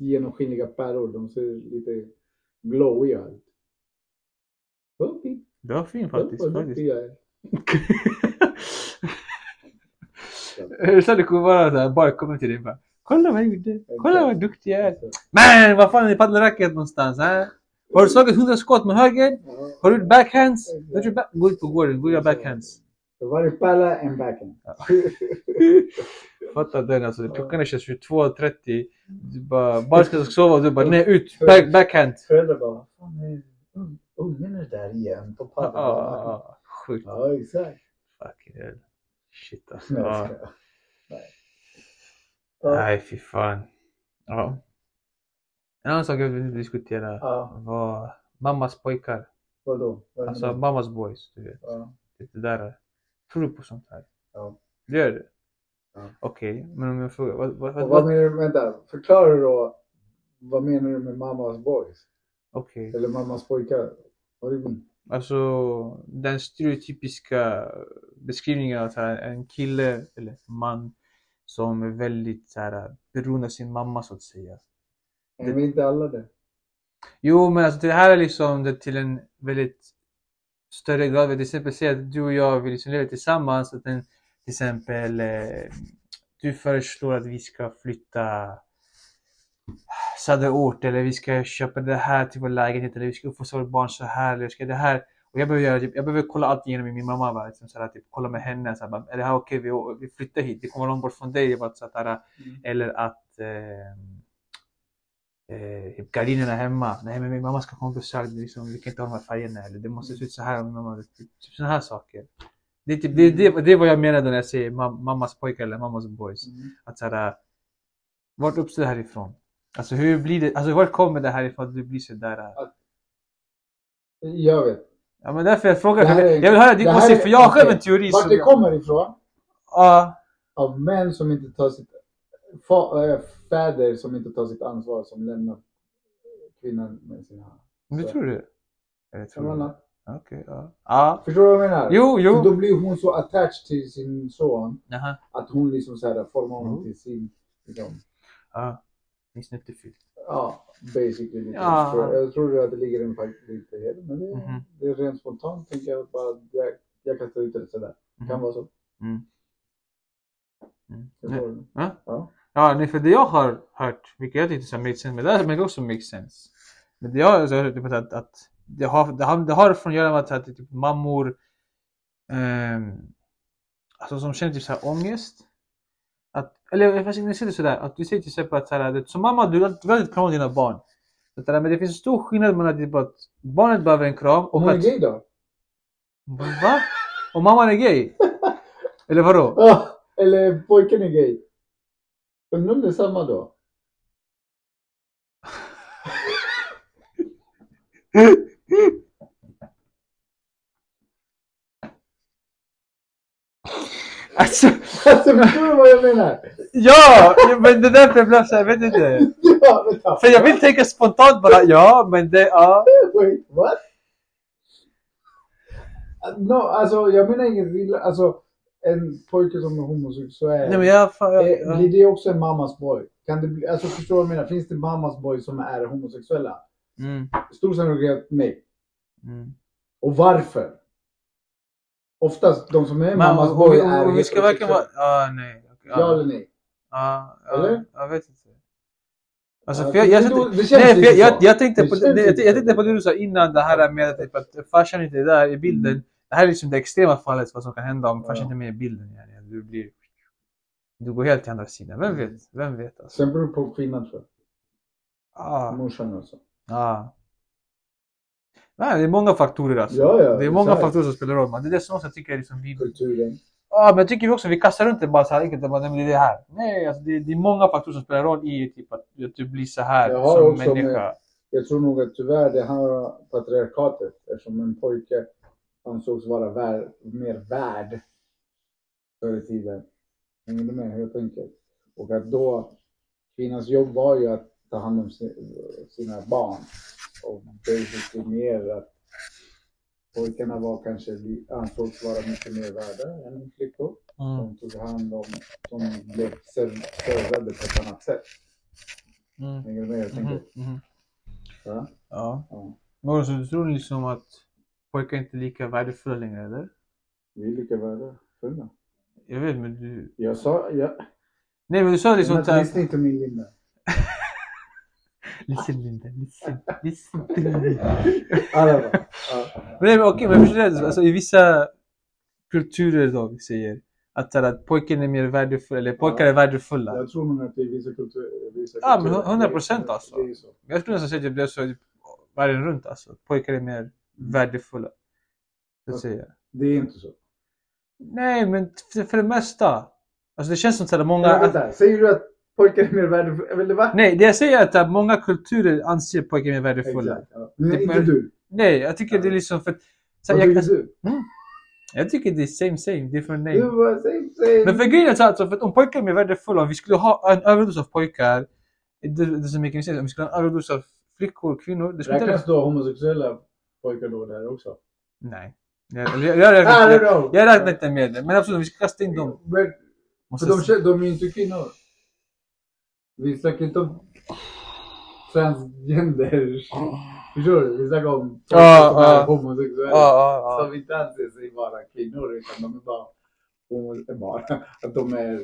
[SPEAKER 2] Genomskinliga pärlor. De ser lite glowiga ut. Vad fin.
[SPEAKER 1] Det var fin faktiskt.
[SPEAKER 2] Vad
[SPEAKER 1] faktiskt.
[SPEAKER 2] duktig jag är.
[SPEAKER 1] Så det kommer vara såhär, bara kommer till dig bara. Kolla vad jag gjorde. Kolla vad duktig jag är.
[SPEAKER 2] Alltså,
[SPEAKER 1] Men vad fan är paddelracket någonstans? Äh? Har du slagit 100 skott med höger?
[SPEAKER 2] ja.
[SPEAKER 1] Har du gjort backhands? Har du gjort back- Gå ut på gården, gå och göra backhands.
[SPEAKER 2] Så Varje palla, en backhand.
[SPEAKER 1] Fatta den alltså. Klockan är 22.30. Du bara, bara ska sova och du bara, nej ut, back, backhand.
[SPEAKER 2] Föräldrar bara, vad fan är un- ungen är där igen på paddelbanan.
[SPEAKER 1] Ah, sjukt.
[SPEAKER 2] Ja, exakt.
[SPEAKER 1] Fucking hell. Shit alltså.
[SPEAKER 2] Nej,
[SPEAKER 1] Ja.
[SPEAKER 2] jag skojar. Ah. Nej. Ja,
[SPEAKER 1] Nej, fy fan. Ja. En annan sak jag vill diskutera
[SPEAKER 2] ja,
[SPEAKER 1] var mammas pojkar.
[SPEAKER 2] vadå? Vad
[SPEAKER 1] Alltså
[SPEAKER 2] menar du?
[SPEAKER 1] mammas boys, du vet.
[SPEAKER 2] Ja,
[SPEAKER 1] Det där. Tror du på sånt här?
[SPEAKER 2] Ja.
[SPEAKER 1] Det gör du?
[SPEAKER 2] Ja.
[SPEAKER 1] Okej, men om jag frågar. Vad, vad, vad,
[SPEAKER 2] Och vad menar du, vänta, förklara då. Vad menar du med mammas boys?
[SPEAKER 1] Okej,
[SPEAKER 2] Eller mammas pojkar? Vad är det?
[SPEAKER 1] alltså den stereotypiska beskrivningen av så här, en kille eller man som är väldigt så här, beroende av sin mamma så att säga.
[SPEAKER 2] Är vi inte alla det?
[SPEAKER 1] Jo, men alltså det här är liksom det till en väldigt större grad. Vi till exempel säger att du och jag vill liksom leva tillsammans. Att den, till exempel eh, du föreslår att vi ska flytta söderort eller vi ska köpa det här till vår lägenhet eller vi ska uppfostra vårt barn så här eller vi ska det här. Och jag behöver, göra, typ- jag behöver kolla allt igenom med min mamma. Va? Liksom, så här, typ, kolla med henne. Så här, bara, är det här okej? Vi, å- vi flyttar hit. Vi kommer långt bort från dig. Bara, så här, eller att eh, eh, typ gardinerna hemma. Nej, men min mamma ska komma och besöka. det är Liksom, vi kan inte ha de här färgerna. Eller det måste se ut så här. om Min mamma, typ typ sådana här saker. Det är, typ, det, det, det är vad jag menade när jag säger mam- mammas pojkar eller mammas boys.
[SPEAKER 2] Mm.
[SPEAKER 1] Att så här, äh, vart uppstår det här ifrån? Alltså hur blir det? Alltså vart kommer det här ifrån att du blir sådär?
[SPEAKER 2] Jag vet.
[SPEAKER 1] Ja men därför jag frågar.
[SPEAKER 2] Det här är-
[SPEAKER 1] jag vill höra din
[SPEAKER 2] det här
[SPEAKER 1] åsikt
[SPEAKER 2] är-
[SPEAKER 1] för jag har själv
[SPEAKER 2] okej.
[SPEAKER 1] en teori.
[SPEAKER 2] Vart
[SPEAKER 1] som
[SPEAKER 2] det
[SPEAKER 1] jag-
[SPEAKER 2] kommer ifrån?
[SPEAKER 1] Ja,
[SPEAKER 2] Av män som inte tar sitt... Fa, äh, fäder som inte tar sitt ansvar som lämnar kvinnan med sina...
[SPEAKER 1] men det tror du? Eller tror du?
[SPEAKER 2] Förvånad.
[SPEAKER 1] Okej, ja. Ja,
[SPEAKER 2] Förstår du vad jag menar?
[SPEAKER 1] jo,
[SPEAKER 2] Så
[SPEAKER 1] jo.
[SPEAKER 2] då blir hon så attached till sin son
[SPEAKER 1] Jaha.
[SPEAKER 2] att hon liksom så här formar honom
[SPEAKER 1] Mm.
[SPEAKER 2] till sin... Liksom,
[SPEAKER 1] Ja. Ni snuttefyll.
[SPEAKER 2] ja, basically. Liksom.
[SPEAKER 1] Ja.
[SPEAKER 2] Så jag tror att det ligger en faktiskt lite i det. Men det,
[SPEAKER 1] Mhm.
[SPEAKER 2] det är rent spontant tänker jag bara. Jag, jag kastar ut det sådär.
[SPEAKER 1] Mhm.
[SPEAKER 2] Kan vara så.
[SPEAKER 1] Mm. Mm.
[SPEAKER 2] Förstår du?
[SPEAKER 1] Ja, nej, för det jag har hört, vilket jag tyckte så här make sense, men det här make också make sense. Men det jag har hört är att, att det, har, det, har, det har från att göra med att, att typ mammor ehm, alltså som känner typ så här ångest. Att, eller fast jag ser det sådär, att du säger till exempel att så här, att som mamma du vill du vill alltid krama om dina barn. Det där, men det finns en stor skillnad mellan typ att barnet behöver en kram
[SPEAKER 2] Om
[SPEAKER 1] och
[SPEAKER 2] hon är
[SPEAKER 1] att...
[SPEAKER 2] gay då?
[SPEAKER 1] Va? Och mamman är gay? Eller vadå?
[SPEAKER 2] Ja, eller pojken är gay. Undrar om det är samma då?
[SPEAKER 1] Alltså,
[SPEAKER 2] Alltså förstår du vad jag menar?
[SPEAKER 1] ja! Men det är därför jag blev såhär, vet inte.
[SPEAKER 2] Ja, vänta.
[SPEAKER 1] För Alltså, jag vill tänka spontant bara, ja men det, ja.
[SPEAKER 2] Wait, what? No, alltså jag menar inget illa. Alltså en pojke som är homosexuell.
[SPEAKER 1] Nej men jag, fan, jag,
[SPEAKER 2] eh,
[SPEAKER 1] jag
[SPEAKER 2] Blir det också en mammas boy? Kan det bli, alltså förstår du vad jag menar? Finns det mammas boy som är homosexuella?
[SPEAKER 1] mm,
[SPEAKER 2] Stor sannolikhet nej.
[SPEAKER 1] mm.
[SPEAKER 2] Och varför? Oftast de som är
[SPEAKER 1] Men
[SPEAKER 2] mammas
[SPEAKER 1] om, om,
[SPEAKER 2] boy
[SPEAKER 1] vi-
[SPEAKER 2] är
[SPEAKER 1] om vi ska verkligen vara,
[SPEAKER 2] heterosexuella.
[SPEAKER 1] ja nej. Ja,
[SPEAKER 2] Ja eller nej?
[SPEAKER 1] ja, ja,
[SPEAKER 2] Eller?
[SPEAKER 1] jag vet inte. Alltså,
[SPEAKER 2] Ja,
[SPEAKER 1] för jag,
[SPEAKER 2] det-
[SPEAKER 1] jag,
[SPEAKER 2] det-
[SPEAKER 1] satt-
[SPEAKER 2] det känns
[SPEAKER 1] nej, för
[SPEAKER 2] lite
[SPEAKER 1] jag, jag,
[SPEAKER 2] så.
[SPEAKER 1] jag, tänkte
[SPEAKER 2] Det
[SPEAKER 1] på,
[SPEAKER 2] känns
[SPEAKER 1] nej, jag,
[SPEAKER 2] lite
[SPEAKER 1] jag
[SPEAKER 2] så.
[SPEAKER 1] tänkte på det du sa innan, det här med typ att farsan inte är där i bilden. Det här är liksom det extrema fallet, vad som kan hända om farsan
[SPEAKER 2] Mm. Ja.
[SPEAKER 1] inte är med i bilden. yani. Du blir, du går helt till andra sidan. Vem
[SPEAKER 2] Mm.
[SPEAKER 1] vet? Vem vet alltså?
[SPEAKER 2] Sen beror det på kvinnan tror
[SPEAKER 1] Ah.
[SPEAKER 2] jag. Morsan och så.
[SPEAKER 1] Ja. Nej, det är många faktorer alltså.
[SPEAKER 2] Ja, ja.
[SPEAKER 1] det är många
[SPEAKER 2] exakt.
[SPEAKER 1] faktorer som spelar roll. Men det är det som också jag tycker är liksom vi...
[SPEAKER 2] Kulturen.
[SPEAKER 1] Ja, men jag tycker vi också vi kastar runt det bara så här enkelt. Bara, nej, men det är det här. Nej, alltså det, det är många faktorer som spelar roll i typ att, att du blir så här
[SPEAKER 2] Jag har
[SPEAKER 1] som
[SPEAKER 2] också
[SPEAKER 1] människa.
[SPEAKER 2] med- Jag tror nog att tyvärr det handlar om patriarkatet eftersom en pojke ansågs vara vär, mer värd förr i tiden. Hänger du med hur jag tänker? Och att då, kvinnans jobb var ju att ta hand om si- sina barn. Och basically mer att pojkarna var kanske, li- ansågs vara mycket mer värda än flickor.
[SPEAKER 1] Mm.
[SPEAKER 2] De tog hand om, de blev serv- servade på ett annat sätt.
[SPEAKER 1] Mm.
[SPEAKER 2] Hänger du med hur jag tänker?
[SPEAKER 1] Mhm. Mhm.
[SPEAKER 2] Ja.
[SPEAKER 1] Ja.
[SPEAKER 2] Ja.
[SPEAKER 1] Men också, du tror liksom att pojkar inte lika värdefulla längre eller?
[SPEAKER 2] Vi är lika värdefulla.
[SPEAKER 1] Jag vet men du...
[SPEAKER 2] Jag sa... Jag,
[SPEAKER 1] Nej men du sa liksom
[SPEAKER 2] men,
[SPEAKER 1] såhär...
[SPEAKER 2] lyssna inte på min Linda.
[SPEAKER 1] Listen Linda, listen, listen till me.
[SPEAKER 2] Alla bara, ja.
[SPEAKER 1] Nej men okej, men förstår du? Alltså, I vissa kulturer då, vi säger att, så här, att pojken är mer värdefull, eller pojkar är värdefulla.
[SPEAKER 2] Jag tror nog att det är vissa kulturer. Vissa
[SPEAKER 1] Ja, men
[SPEAKER 2] kulturer.
[SPEAKER 1] 100%
[SPEAKER 2] Det är-
[SPEAKER 1] alltså.
[SPEAKER 2] Det är ju så.
[SPEAKER 1] Jag skulle nästan säga att det blev så typ, världen runt alltså. att Pojkar är mer värdefulla. Så att
[SPEAKER 2] Okej.
[SPEAKER 1] säga.
[SPEAKER 2] Det är inte så.
[SPEAKER 1] Nej, men för- för det mesta. Alltså det känns som att många...
[SPEAKER 2] Men
[SPEAKER 1] Att,
[SPEAKER 2] vänta, säger du att pojkar är mer värdefulla? Eller va?
[SPEAKER 1] nej, det jag säger är att äh, många kulturer anser pojkar mer värdefulla.
[SPEAKER 2] Exakt, ja. Men
[SPEAKER 1] Det
[SPEAKER 2] inte
[SPEAKER 1] bör-
[SPEAKER 2] du.
[SPEAKER 1] Nej, jag tycker det är liksom för... Så
[SPEAKER 2] Vad
[SPEAKER 1] här,
[SPEAKER 2] tycker
[SPEAKER 1] jag,
[SPEAKER 2] du?
[SPEAKER 1] jag tycker det är same same, different name.
[SPEAKER 2] Du bara, säg, säg.
[SPEAKER 1] Men för grejen är så här, alltså, för att om pojkar är mer värdefulla, om vi skulle ha en överdos av pojkar, det det doesn't make any sense. Om vi skulle ha en överdos av flickor, kvinnor, det skulle
[SPEAKER 2] Räknas
[SPEAKER 1] inte...
[SPEAKER 2] då homosexuella pojkar då där också?
[SPEAKER 1] Nej. Jag, jag, jag, jag,
[SPEAKER 2] Ah,
[SPEAKER 1] jag,
[SPEAKER 2] det är bra.
[SPEAKER 1] jag räknar inte med det, men absolut, om vi ska kasta in dem.
[SPEAKER 2] Men,
[SPEAKER 1] Måste
[SPEAKER 2] för de, kä- de är ju inte kvinnor. Vi snackar inte om transgender.
[SPEAKER 1] Ah.
[SPEAKER 2] Förstår du? Vi snackar om folk
[SPEAKER 1] Ja,
[SPEAKER 2] som är
[SPEAKER 1] ja.
[SPEAKER 2] homosexuella.
[SPEAKER 1] Ja, ja, ja.
[SPEAKER 2] Som inte anser sig vara kvinnor utan de är bara, homo- bara att de är,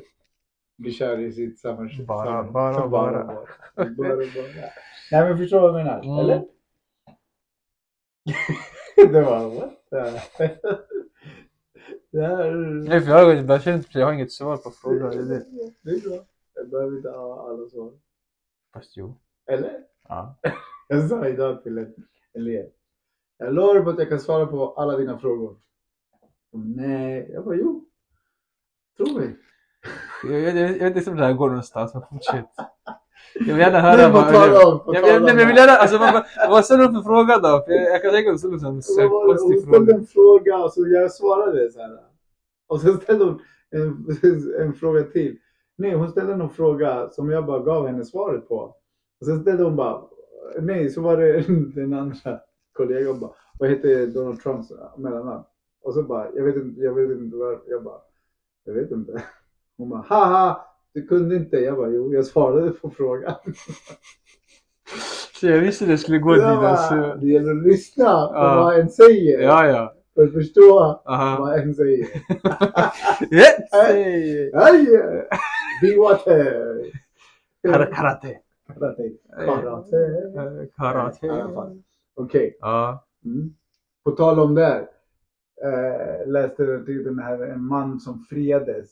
[SPEAKER 2] blir kär i sitt samma kön.
[SPEAKER 1] Bara,
[SPEAKER 2] Samma-
[SPEAKER 1] bara, bara.
[SPEAKER 2] bara, bara. Nej men förstår du vad jag menar?
[SPEAKER 1] Mm.
[SPEAKER 2] Eller? det var what the... det här...
[SPEAKER 1] Nej, för jag, har- jag, känner inte, jag har inget svar på frågan. det är det.
[SPEAKER 2] Det är bra. Jag behöver inte ha alla svar.
[SPEAKER 1] Fast jo.
[SPEAKER 2] Eller?
[SPEAKER 1] Ja.
[SPEAKER 2] Jag sa idag till en elev. Jag lovar på att jag kan svara på alla dina frågor. Nej, jag bara jo. Tro mig.
[SPEAKER 1] Jag, jag, jag, jag vet inte om det här går någonstans, men fortsätt. Jag vill gärna
[SPEAKER 2] Nej,
[SPEAKER 1] höra
[SPEAKER 2] på
[SPEAKER 1] vad...
[SPEAKER 2] tal
[SPEAKER 1] Jag,
[SPEAKER 2] om- på
[SPEAKER 1] jag,
[SPEAKER 2] tal
[SPEAKER 1] jag,
[SPEAKER 2] om-
[SPEAKER 1] nej, men jag vill gärna... Alltså, vad, vad- vad ställer du för fråga då? För jag, jag kan tänka mig att du ställer en sån här
[SPEAKER 2] Vad var det? Hon
[SPEAKER 1] konstig
[SPEAKER 2] ställde
[SPEAKER 1] fråga.
[SPEAKER 2] en fråga och så jag svarade så här. Och sen ställde hon en, en fråga till. Nej, hon ställde någon fråga som jag bara gav henne svaret på. Och sen ställde hon bara, nej, så var det den andra kollegan bara, vad heter Donald Trumps mellannamn? Och så bara, jag vet inte, jag vet inte, vad- jag bara, jag vet inte. Hon bara, haha, du kunde inte. Jag bara, jo, jag svarade på frågan.
[SPEAKER 1] Så jag visste det skulle gå dit
[SPEAKER 2] Jag
[SPEAKER 1] alltså.
[SPEAKER 2] bara, det gäller att lyssna på
[SPEAKER 1] Ja.
[SPEAKER 2] vad en säger.
[SPEAKER 1] Ja, ja.
[SPEAKER 2] För att förstå
[SPEAKER 1] Aha.
[SPEAKER 2] vad en säger.
[SPEAKER 1] Yes!
[SPEAKER 2] Aj! Be water!
[SPEAKER 1] Karate. Eh,
[SPEAKER 2] Karate. Karate.
[SPEAKER 1] Karate.
[SPEAKER 2] I alla fall. Okej.
[SPEAKER 1] Ja.
[SPEAKER 2] Mm. På tal om det. här, Eh, läste jag till den här en man som friades.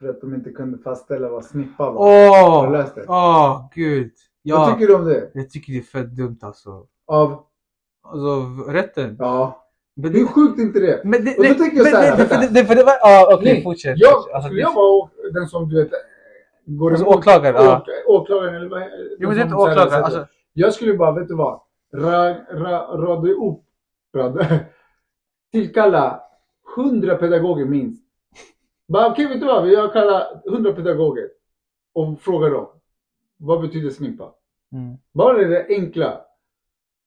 [SPEAKER 2] För att de inte kunde fastställa vad snippa var. Har
[SPEAKER 1] Åh!
[SPEAKER 2] du läst det?
[SPEAKER 1] Åh, gud.
[SPEAKER 2] Vad
[SPEAKER 1] Ja.
[SPEAKER 2] tycker du om det?
[SPEAKER 1] Jag tycker det är fett dumt alltså.
[SPEAKER 2] Av,
[SPEAKER 1] Alltså, rätten.
[SPEAKER 2] ja.
[SPEAKER 1] Men
[SPEAKER 2] Hur
[SPEAKER 1] det...
[SPEAKER 2] sjukt inte det?
[SPEAKER 1] Men det...
[SPEAKER 2] Mm. Och då tänker jag
[SPEAKER 1] men
[SPEAKER 2] så här,
[SPEAKER 1] det- det- för det-
[SPEAKER 2] vänta.
[SPEAKER 1] det- för det var... Ja, okej,
[SPEAKER 2] Nej,
[SPEAKER 1] fortsätt. fortsätt.
[SPEAKER 2] Jag,
[SPEAKER 1] Alltså,
[SPEAKER 2] skulle
[SPEAKER 1] det-
[SPEAKER 2] jag vara den som du vet går
[SPEAKER 1] Alltså,
[SPEAKER 2] emot-
[SPEAKER 1] åklagare, ja.
[SPEAKER 2] åk- Åklagaren eller vad?
[SPEAKER 1] Jo, men det är inte
[SPEAKER 2] de som säger så
[SPEAKER 1] åklagare.
[SPEAKER 2] här,
[SPEAKER 1] Alltså,
[SPEAKER 2] Jag skulle bara, vet du vad? Ra- ra- Rada upp, rada, tillkalla 100 pedagoger minst. Bara, okej, vet du vad? Jag kallar 100 pedagoger och frågar dem. Vad betyder snippa?
[SPEAKER 1] mm.
[SPEAKER 2] Bara det enkla.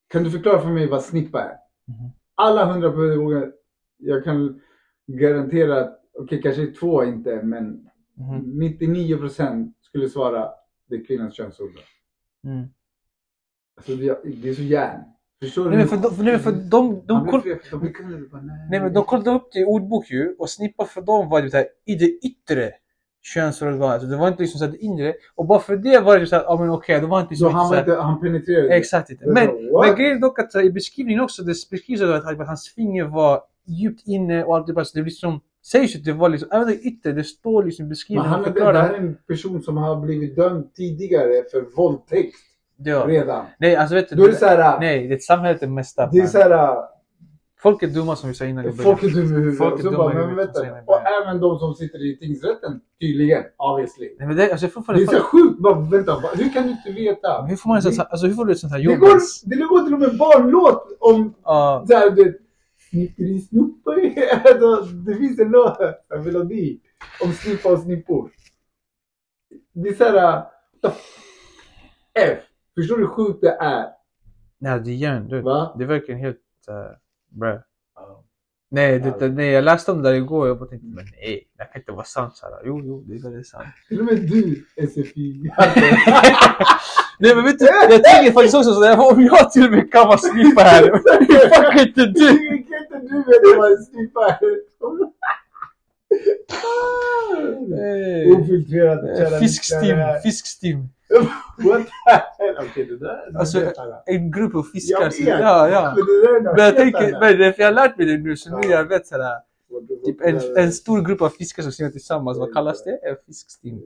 [SPEAKER 2] Kan du förklara för mig vad snippa är?
[SPEAKER 1] Mhm.
[SPEAKER 2] Alla 100 pedagoger, jag kan garantera att, okej, kanske två inte, men
[SPEAKER 1] Mhm.
[SPEAKER 2] 99% skulle svara det är kvinnans könsorgan.
[SPEAKER 1] Mm.
[SPEAKER 2] Alltså det, det är så järn. Förstår
[SPEAKER 1] Nej men för de, för, nej, men för de,
[SPEAKER 2] Han
[SPEAKER 1] de,
[SPEAKER 2] blev
[SPEAKER 1] koll,
[SPEAKER 2] fri- de blir kallade bara, nej.
[SPEAKER 1] nej, men de kollade upp det i ordbok ju och snippa för dem var det så här, i det yttre könsorganet. Alltså, det var inte liksom så här det inre. Och bara för det var det så här, ja men okej, det var inte
[SPEAKER 2] Så
[SPEAKER 1] liksom
[SPEAKER 2] han,
[SPEAKER 1] så
[SPEAKER 2] var
[SPEAKER 1] här,
[SPEAKER 2] inte, han penetrerade det.
[SPEAKER 1] Exakt inte.
[SPEAKER 2] Det var
[SPEAKER 1] Men,
[SPEAKER 2] what?
[SPEAKER 1] men grejen är dock att så här, i beskrivningen också, det beskrivs att att hans finger var djupt inne och allt det där. Så det blir som, sägs ju att det var liksom, även det yttre, det står liksom i
[SPEAKER 2] Men
[SPEAKER 1] beskrivningen.
[SPEAKER 2] han
[SPEAKER 1] och
[SPEAKER 2] är, det här
[SPEAKER 1] förklarar.
[SPEAKER 2] är en person som har blivit dömd tidigare för våldtäkt
[SPEAKER 1] Ja.
[SPEAKER 2] redan.
[SPEAKER 1] Nej, alltså vet du.
[SPEAKER 2] Då är det så här,
[SPEAKER 1] nej, det samhället är mest
[SPEAKER 2] det är så här,
[SPEAKER 1] Folk är dumma som vi sa innan. i början.
[SPEAKER 2] folk är dumma i huvudet.
[SPEAKER 1] Folk är
[SPEAKER 2] Och så
[SPEAKER 1] dumma i
[SPEAKER 2] bara, men
[SPEAKER 1] huvudet,
[SPEAKER 2] vänta.
[SPEAKER 1] säger man
[SPEAKER 2] Och
[SPEAKER 1] bara.
[SPEAKER 2] även de som sitter i tingsrätten, tydligen, obviously.
[SPEAKER 1] Nej, men det, alltså, jag får
[SPEAKER 2] Det
[SPEAKER 1] fan-
[SPEAKER 2] är så sjukt, bara vänta, bara, hur kan du inte veta?
[SPEAKER 1] Hur får man ens,
[SPEAKER 2] Det-
[SPEAKER 1] alltså hur får du ett sånt här
[SPEAKER 2] Det
[SPEAKER 1] jobb?
[SPEAKER 2] går,
[SPEAKER 1] ens?
[SPEAKER 2] det går till och med barnlåt om
[SPEAKER 1] Ja,
[SPEAKER 2] Såhär du vet, snipperi snopperi. Då- Det finns en låt, en melodi om snippa och snippor. Det är såhär, F. Förstår du hur sjukt det är?
[SPEAKER 1] nej det är järn du.
[SPEAKER 2] Va?
[SPEAKER 1] Det är verkligen helt, uh, brä. Nej, det, det, nej, jag läste om det där igår och jag bara tänkte, men nej, det här kan inte vara
[SPEAKER 2] e
[SPEAKER 1] sant. Så här, jo, jo, det är väldigt sant.
[SPEAKER 2] Till och med du, SFI.
[SPEAKER 1] Nej men vet du, jag tänker faktiskt också sådär, om jag till och med kan vara snippa här, hur fan kan inte du?
[SPEAKER 2] Hur kan inte du veta vad en snippa är?
[SPEAKER 1] Nej.
[SPEAKER 4] Ofiltrerat kära
[SPEAKER 1] Eh, Fiskstim,
[SPEAKER 4] lyssnare här.
[SPEAKER 1] fiskstim.
[SPEAKER 2] What the hell? Okej, det där det
[SPEAKER 1] Alltså,
[SPEAKER 2] vet alla.
[SPEAKER 1] En grupp av fiskar.
[SPEAKER 2] Jag
[SPEAKER 1] som-
[SPEAKER 2] vet!
[SPEAKER 1] Ja, ja.
[SPEAKER 2] Men det där är något
[SPEAKER 1] Men jag
[SPEAKER 2] helt
[SPEAKER 1] tänker,
[SPEAKER 2] annat.
[SPEAKER 1] men det är för jag har lärt mig det nu, så nu jag vet sådär. Typ en, en stor grupp av fiskar som simmar tillsammans, vad kallas det? En fiskstim.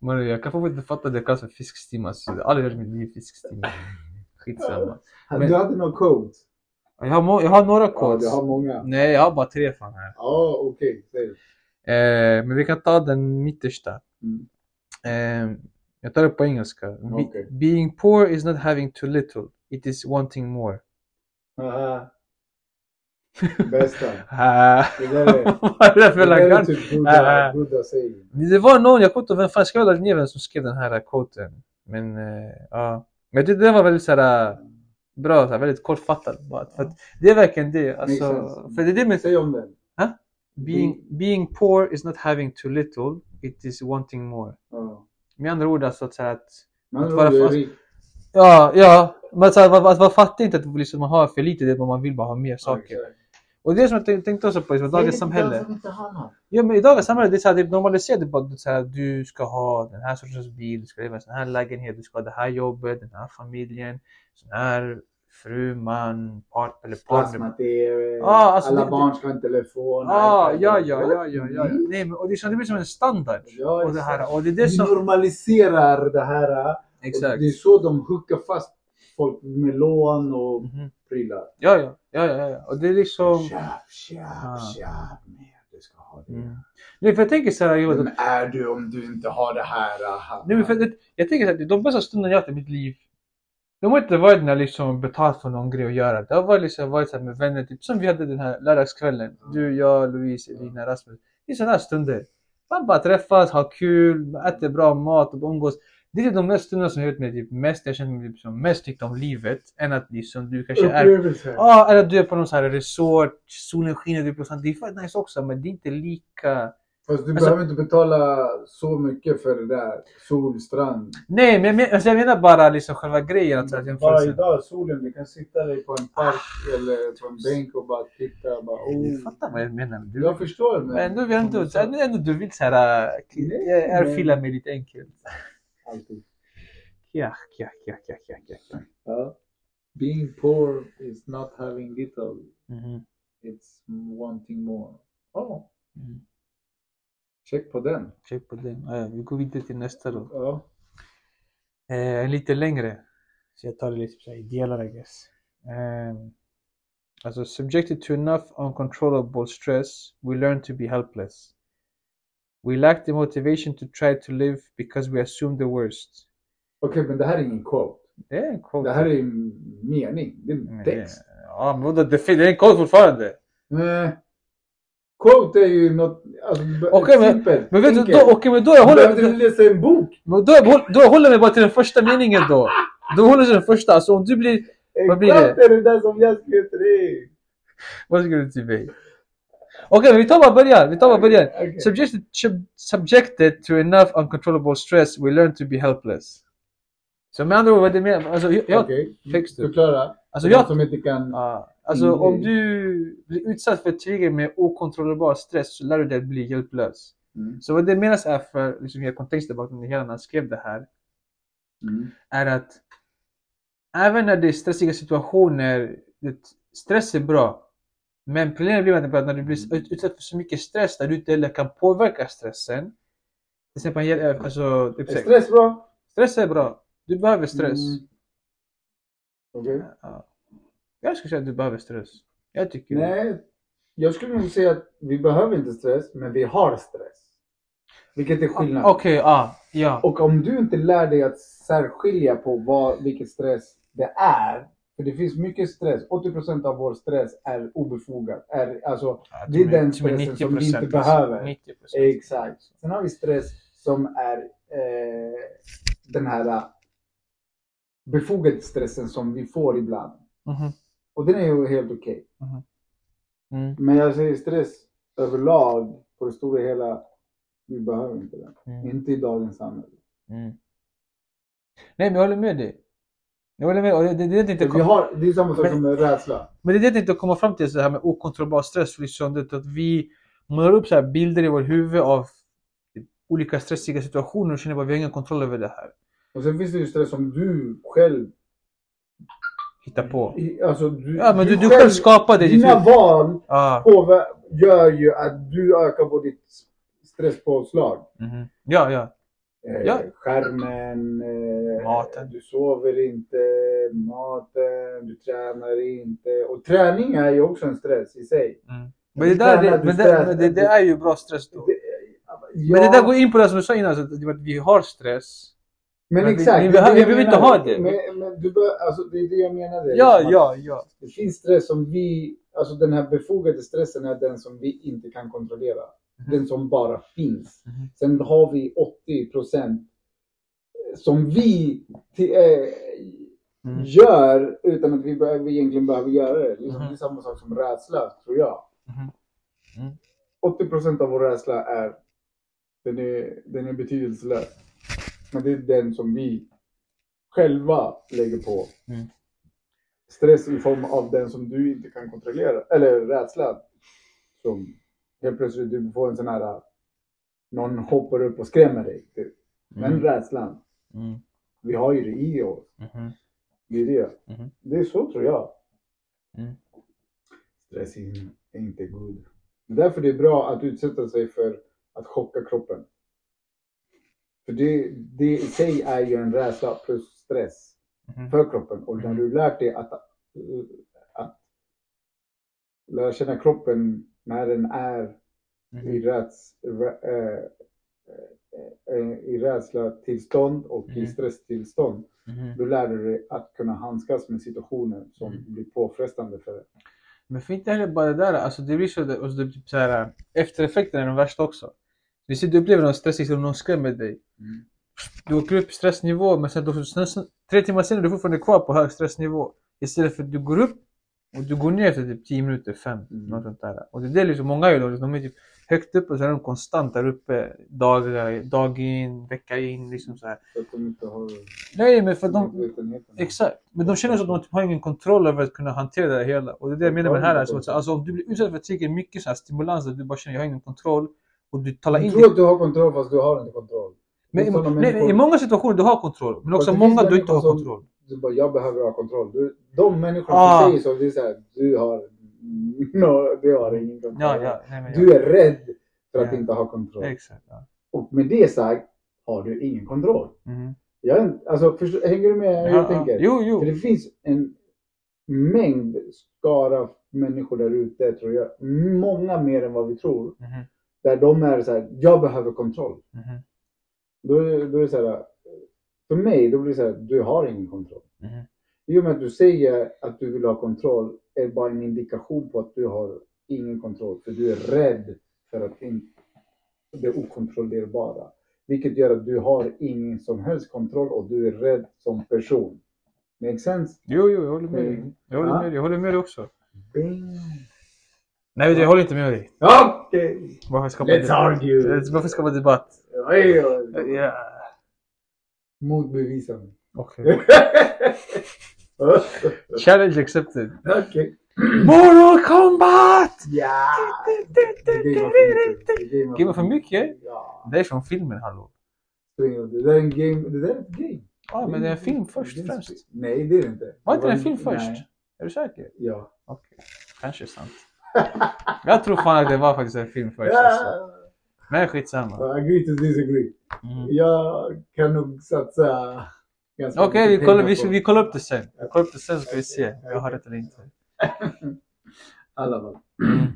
[SPEAKER 1] Men jag kan fortfarande inte fatta att det kallas för fiskstim alltså. Jag har aldrig hört i mitt liv fiskstim. Skitsamma. Men-
[SPEAKER 2] Du hade någon code?
[SPEAKER 1] Jag har, må- jag har några
[SPEAKER 2] Ja,
[SPEAKER 1] kods.
[SPEAKER 2] du har många.
[SPEAKER 1] Nej, jag har bara tre fan här.
[SPEAKER 2] Ja, okej. säg det.
[SPEAKER 1] Eh, men vi kan ta den mittersta.
[SPEAKER 2] Mm.
[SPEAKER 1] Eh, jag tar det på engelska. Be-
[SPEAKER 2] Okej.
[SPEAKER 1] Being poor is not having too little. It is wanting more.
[SPEAKER 2] Haha. Bästa.
[SPEAKER 1] Ah,
[SPEAKER 2] Det där är...
[SPEAKER 1] Vad är det för
[SPEAKER 2] Det där är
[SPEAKER 1] laggan?
[SPEAKER 2] typ
[SPEAKER 1] Ah.
[SPEAKER 2] Buddha, Buddha säger.
[SPEAKER 1] Men Det var någon, jag kommer inte ihåg vem fan, ska jag lägga ner vem som skrev den här quoten. Men eh, ja. Men jag tyckte den var väldigt så här, eh, bra, så här, väldigt kortfattad. Bara. För att det är verkligen det. Alltså,
[SPEAKER 2] Makes sense. Mm.
[SPEAKER 1] för det är det med
[SPEAKER 2] Säg om den.
[SPEAKER 1] being, being poor is not having too little. It is wanting more.
[SPEAKER 2] Ja.
[SPEAKER 1] Med andra ord alltså att, så här, att
[SPEAKER 2] Man
[SPEAKER 1] Att
[SPEAKER 2] tror
[SPEAKER 1] vara
[SPEAKER 2] du är
[SPEAKER 1] fast-
[SPEAKER 2] rik.
[SPEAKER 1] Ja, ja. Men så här, man, man, man fattar inte att liksom, man har för lite, det är bara man vill bara ha mer saker.
[SPEAKER 2] Exakt.
[SPEAKER 1] Och det är som jag tänk- tänkte också på, liksom, i
[SPEAKER 2] Säg
[SPEAKER 1] dagens
[SPEAKER 2] till den
[SPEAKER 1] samhälle.
[SPEAKER 2] som inte har något.
[SPEAKER 1] Ja, men i dagens samhälle, det är så här, det är normaliserat. Det är bara att så här, du ska ha den här sortens bil, du ska leva i en sån här lägenhet, du ska ha det här jobbet, den här familjen, sån här fru, man, part, eller partner.
[SPEAKER 2] Plasma-tv,
[SPEAKER 1] Ja, alltså
[SPEAKER 2] alla
[SPEAKER 1] det-
[SPEAKER 2] barn ska ha en telefon.
[SPEAKER 1] Ah,
[SPEAKER 2] iPad.
[SPEAKER 1] ja, ja, ja, ja, mm. ja. Nej, men, och det, är som, det blir som en standard.
[SPEAKER 2] Ja,
[SPEAKER 1] och det,
[SPEAKER 2] exakt.
[SPEAKER 1] här, och det är det
[SPEAKER 2] Vi
[SPEAKER 1] som...
[SPEAKER 2] normaliserar det här. och
[SPEAKER 1] Exakt.
[SPEAKER 2] Det är så de hookar fast folk med lån och
[SPEAKER 1] Mhm.
[SPEAKER 2] prylar.
[SPEAKER 1] Ja, ja, ja, ja, ja. Och det är liksom...
[SPEAKER 2] Köp, köp,
[SPEAKER 1] Ah.
[SPEAKER 2] köp mer. Du ska ha det.
[SPEAKER 1] Mm. Nej, för jag tänker så här, Jonas,
[SPEAKER 2] Vem är du om du inte har det här? ah,
[SPEAKER 1] Nej, men för det, jag tänker att de bästa stunderna jag haft i mitt liv, de har inte varit när jag liksom betalt för någon grej att göra. Det har varit, liksom, varit så här med vänner, typ som vi hade den här lördagskvällen. Du, jag, Louise, Elina, Rasmus. Det är sådana här stunder. Man bara träffas, har kul, äter bra mat och umgås. Det är de mest stunderna som jag vet mig typ mest, jag känner mig typ som mest tyckt om livet. Än att liksom du kanske är
[SPEAKER 2] Upplevelser.
[SPEAKER 1] Ja, eller att du är på någon sån här resort, solen skiner, du är på sånt. Det är fett nice också, men det är inte lika...
[SPEAKER 2] Fast du
[SPEAKER 1] Alltså-
[SPEAKER 2] behöver inte betala så mycket för det där. Solstrand.
[SPEAKER 1] Nej, men jag, men, alltså, jag menar bara liksom själva grejen. Att, Ah. så här,
[SPEAKER 2] Mm. Bara
[SPEAKER 1] jämförelsen.
[SPEAKER 2] idag, solen, du kan sitta dig på en park eller på en bänk och bara titta. Bara,
[SPEAKER 1] Du
[SPEAKER 2] oh.
[SPEAKER 1] fattar vad jag menar. Du,
[SPEAKER 2] Jag förstår. Men,
[SPEAKER 1] men ändå, vi ändå, så- ändå, ändå du vill så här, äh,
[SPEAKER 2] Nej,
[SPEAKER 1] jag är
[SPEAKER 2] men-
[SPEAKER 1] fila mig lite enkelt.
[SPEAKER 2] Alltid.
[SPEAKER 1] Ja, ja, ja, ja, ja, ja.
[SPEAKER 2] Ja. Being poor is not having little.
[SPEAKER 1] Mhm.
[SPEAKER 2] It's wanting more. Oh.
[SPEAKER 1] Mm.
[SPEAKER 2] Check på den.
[SPEAKER 1] Check på den. Ja, ja, vi går vidare till nästa då.
[SPEAKER 2] Ja.
[SPEAKER 1] Eh, en lite längre. Så jag tar det lite så här i delar, uh, I guess. Ehm, alltså, subjected to enough uncontrollable stress, we learn to be helpless. We lack the motivation to try to live because we assume the worst.
[SPEAKER 2] Okej, men det här är ingen quote.
[SPEAKER 1] Det är en quote.
[SPEAKER 2] Det här är en mening. Det är en
[SPEAKER 1] Nej,
[SPEAKER 2] text.
[SPEAKER 1] Ja, men vadå, det fin- det är en quote fortfarande.
[SPEAKER 2] Nej. Quote är ju något alltså,
[SPEAKER 1] Okej, men-
[SPEAKER 2] simpelt.
[SPEAKER 1] Men vet du,
[SPEAKER 2] enkelt.
[SPEAKER 1] då, okej, men då jag håller
[SPEAKER 2] Behöver du läsa en bok?
[SPEAKER 1] men då, jag behåll- då jag håller mig bara till den första meningen då. Då håller jag till den första. Alltså om du blir... Vad blir
[SPEAKER 2] Exakt det är det där som jag skrev till dig.
[SPEAKER 1] Vad ska du till mig? Okej, men vi tar bara början. Vi tar bara början.
[SPEAKER 2] Okej.
[SPEAKER 1] Subjected, sub- subjected to enough uncontrollable stress, we learn to be helpless. Så med andra ord, vad det menar? Alltså, jag, jag,
[SPEAKER 2] Okej.
[SPEAKER 1] texten.
[SPEAKER 2] Förklara.
[SPEAKER 1] alltså, jag,
[SPEAKER 2] Som inte kan...
[SPEAKER 1] ja, alltså om du blir utsatt för trigger med okontrollerbar stress så lär du dig att bli hjälplös.
[SPEAKER 2] Mm.
[SPEAKER 1] Så vad det menas är för, liksom ge kontext till bakom det hela när han skrev det här,
[SPEAKER 2] Mm.
[SPEAKER 1] är att även när det är stressiga situationer, det, stress är bra. Men problemet blir med att när du blir ut- utsatt för så mycket stress där du inte heller kan påverka stressen. Till exempel, hjäl- alltså, typ
[SPEAKER 2] Är
[SPEAKER 1] sex.
[SPEAKER 2] stress bra?
[SPEAKER 1] stress är bra. Du behöver stress.
[SPEAKER 2] Mm. Okej.
[SPEAKER 1] Ja. Jag skulle säga att du behöver stress. Jag tycker det.
[SPEAKER 2] Nej, jag skulle nog säga att vi behöver inte stress, men vi har stress. Vilket är skillnad.
[SPEAKER 1] Okej, ah, ja.
[SPEAKER 2] Och om du inte lär dig att särskilja på vad, vilken stress det är, för det finns mycket stress. 80% av vår stress är obefogad. Är, alltså, det är den
[SPEAKER 1] Som är
[SPEAKER 2] stressen som vi
[SPEAKER 1] 90%,
[SPEAKER 2] inte behöver.
[SPEAKER 1] 90%.
[SPEAKER 2] Exakt. Sen har vi stress som är eh, den här eh, befogade stressen som vi får ibland.
[SPEAKER 1] Mhm.
[SPEAKER 2] Och den är ju helt okej.
[SPEAKER 1] Mm.
[SPEAKER 2] Men jag säger stress överlag, på det stora hela, vi behöver inte den.
[SPEAKER 1] Mm.
[SPEAKER 2] Inte i dagens samhälle.
[SPEAKER 1] Mm. Nej, men jag håller med dig. Jag håller med. Och det, det, det är inte
[SPEAKER 2] Vi har, det är samma sak
[SPEAKER 1] Men-
[SPEAKER 2] som med rädsla.
[SPEAKER 1] Men det är det jag tänkte komma fram till, så det här med okontrollerbar stress. Liksom, det, att vi målar upp så här bilder i vårt huvud av olika stressiga situationer och känner att vi har ingen kontroll över det här.
[SPEAKER 2] Och sen finns det ju stress som du själv...
[SPEAKER 1] Hitta på.
[SPEAKER 2] i- Alltså du,
[SPEAKER 1] Ja, men du, du själv skapar det. i ditt
[SPEAKER 2] Dina
[SPEAKER 1] huvud.
[SPEAKER 2] val
[SPEAKER 1] Ah,
[SPEAKER 2] påver- gör ju att du ökar på ditt stresspåslag.
[SPEAKER 1] mhm. Ja, ja.
[SPEAKER 2] Eh,
[SPEAKER 1] Ja.
[SPEAKER 2] Skärmen, eh,
[SPEAKER 1] Maten.
[SPEAKER 2] du sover inte, maten, du tränar inte. Och träning är ju också en stress i sig.
[SPEAKER 1] Mm. Men det, där, det,
[SPEAKER 2] Du
[SPEAKER 1] men
[SPEAKER 2] stressar,
[SPEAKER 1] det, men det,
[SPEAKER 2] du-
[SPEAKER 1] det är ju bra stress då.
[SPEAKER 2] Ja,
[SPEAKER 1] Men det där går in på det som du sa innan, så att att vi har stress.
[SPEAKER 2] men
[SPEAKER 1] men vi-
[SPEAKER 2] exakt.
[SPEAKER 1] vi
[SPEAKER 2] det är
[SPEAKER 1] behöver-
[SPEAKER 2] det jag
[SPEAKER 1] vi vill inte
[SPEAKER 2] menar.
[SPEAKER 1] ha det.
[SPEAKER 2] Men, men du bör, alltså, det är det jag menade.
[SPEAKER 1] Ja,
[SPEAKER 2] Liksom att
[SPEAKER 1] ja, ja.
[SPEAKER 2] Det finns stress som vi, alltså den här befogade stressen är den som vi inte kan kontrollera. Den som bara finns.
[SPEAKER 1] Mhm.
[SPEAKER 2] Sen har vi 80 procent som vi ti- eh, Mm-hmm.
[SPEAKER 1] Mm.
[SPEAKER 2] gör utan att vi, behöver, vi egentligen behöver göra det. Liksom,
[SPEAKER 1] Mhm.
[SPEAKER 2] Det är samma sak som rädsla, tror jag.
[SPEAKER 1] Mhm. Mm.
[SPEAKER 2] 80 procent av vår rädsla är den, är den är betydelselös. Men det är den som vi själva lägger på.
[SPEAKER 1] Mm.
[SPEAKER 2] Stress i form av den som du inte kan kontrollera, eller rädsla. Som helt plötsligt du får en sån här, någon hoppar upp och skrämmer dig. Typ. Men
[SPEAKER 1] Mm.
[SPEAKER 2] rädslan,
[SPEAKER 1] Mm.
[SPEAKER 2] vi har ju det i oss.
[SPEAKER 1] Mhm.
[SPEAKER 2] Det är det.
[SPEAKER 1] Mhm.
[SPEAKER 2] Det är så tror jag.
[SPEAKER 1] Mm.
[SPEAKER 2] Stress är in- är inte god. Det är därför det är bra att utsätta sig för att chocka kroppen. För det, det i sig är ju en rädsla plus stress
[SPEAKER 1] Mhm.
[SPEAKER 2] för kroppen. Och när du lärt dig att, att lära känna kroppen när den är
[SPEAKER 1] Mhm.
[SPEAKER 2] i, räds, rä, eh, eh, eh, i rädsla tillstånd och i
[SPEAKER 1] Mm.
[SPEAKER 2] stresstillstånd.
[SPEAKER 1] Mhm.
[SPEAKER 2] Då lär du dig att kunna handskas med situationer som blir påfrestande för dig.
[SPEAKER 1] Men för inte heller bara det där, alltså det blir så, och så, typ så här, eftereffekterna är de värsta också. Du, ser, du upplever någon stressig som någon skrämmer dig.
[SPEAKER 2] Mm.
[SPEAKER 1] Du åker upp i stressnivå, men sen, då, sen, sen tre timmar senare är du fortfarande kvar på hög stressnivå. Istället för att du går upp och du går ner efter typ 10 minuter, 5,
[SPEAKER 2] Mm.
[SPEAKER 1] något sånt där. Och det är det liksom många gör, då, liksom, de är typ högt upp och sen är de konstant där uppe dagar, dag in, vecka in, liksom så här.
[SPEAKER 2] Så att de inte har
[SPEAKER 1] Nej, men för att de,
[SPEAKER 2] medvetenheten.
[SPEAKER 1] Exakt. Men de känner så att de typ har ingen kontroll över att kunna hantera det hela. Och det är det jag menar med det här. Alltså, att- alltså, om du blir utsatt för tillräckligt mycket så här stimulans, att du bara känner jag har ingen kontroll. Och du talar
[SPEAKER 2] Du
[SPEAKER 1] in
[SPEAKER 2] tror att du har kontroll fast du har inte kontroll.
[SPEAKER 1] men, i-
[SPEAKER 2] Sådana
[SPEAKER 1] nej, nej, I
[SPEAKER 2] människor-
[SPEAKER 1] många situationer du har kontroll, men också
[SPEAKER 2] Fast det finns
[SPEAKER 1] många du inte
[SPEAKER 2] människor
[SPEAKER 1] har
[SPEAKER 2] som-
[SPEAKER 1] kontroll.
[SPEAKER 2] Du bara, jag behöver ha kontroll. Du, de människor som
[SPEAKER 1] Ah.
[SPEAKER 2] säger så, det är så här, du har, no, du har ingen kontroll.
[SPEAKER 1] Ja, ja. Nej, men,
[SPEAKER 2] Du är rädd för att
[SPEAKER 1] Ja.
[SPEAKER 2] inte ha
[SPEAKER 1] ja.
[SPEAKER 2] kontroll.
[SPEAKER 1] Exakt. Ja.
[SPEAKER 2] Och med det sagt har du ingen kontroll.
[SPEAKER 1] Mm.
[SPEAKER 2] Jag, är inte- alltså, förstår, hänger du med hur
[SPEAKER 1] Ja,
[SPEAKER 2] jag
[SPEAKER 1] ja.
[SPEAKER 2] tänker?
[SPEAKER 1] Jo, jo.
[SPEAKER 2] För det finns en mängd skara människor där ute, tror jag. Många mer än vad vi tror.
[SPEAKER 1] Mhm,
[SPEAKER 2] Där de är så här, jag behöver kontroll.
[SPEAKER 1] mhm,
[SPEAKER 2] Då, är det- då är det så här, för mig, då blir det så här, du har ingen kontroll.
[SPEAKER 1] mhm.
[SPEAKER 2] I och med att du säger att du vill ha kontroll är bara en indikation på att du har ingen kontroll. För du är rädd för att in, det okontrollerbara. Vilket gör att du har ingen som helst kontroll och du är rädd som person. Make sense?
[SPEAKER 1] Jo, jo, jag håller med dig.
[SPEAKER 2] Mm.
[SPEAKER 1] Jag håller
[SPEAKER 2] Ja.
[SPEAKER 1] med dig. Jag håller med dig också.
[SPEAKER 2] Bing.
[SPEAKER 1] Nej, men jag håller inte med dig.
[SPEAKER 2] Okej!
[SPEAKER 1] Varför skapa
[SPEAKER 2] Let's argue!
[SPEAKER 1] Varför skapa debatt?
[SPEAKER 2] Oj, oj,
[SPEAKER 1] Ja,
[SPEAKER 2] oj. Motbevisa mig.
[SPEAKER 1] Okej. Challenge accepted.
[SPEAKER 2] Okej.
[SPEAKER 1] Moral combat!
[SPEAKER 2] Ja! Det gamear för mycket. Det
[SPEAKER 1] Gamear för mycket?
[SPEAKER 2] Ja.
[SPEAKER 1] Det är från filmen, hallå.
[SPEAKER 2] Det där är en game. Det där är ett game.
[SPEAKER 1] Ja, men Mm, det är en Ah, film först och främst.
[SPEAKER 2] Nej, det är det inte.
[SPEAKER 1] Var inte det en film
[SPEAKER 2] Nej.
[SPEAKER 1] först? Är du säker?
[SPEAKER 2] Ja.
[SPEAKER 1] Okej, kanske är sant. Jag tror fan att det var faktiskt en film först. Alltså.
[SPEAKER 2] Ja,
[SPEAKER 1] Men skitsamma.
[SPEAKER 2] agree to disagree.
[SPEAKER 1] Mm.
[SPEAKER 2] Jag kan nog satsa ganska
[SPEAKER 1] Okej,
[SPEAKER 2] mycket
[SPEAKER 1] vi, kollar,
[SPEAKER 2] pengar
[SPEAKER 1] vi,
[SPEAKER 2] på
[SPEAKER 1] vi kollar upp det sen. Vi kollar upp det sen så ska vi se om jag har rätt eller inte.
[SPEAKER 2] alla val.
[SPEAKER 1] Mm.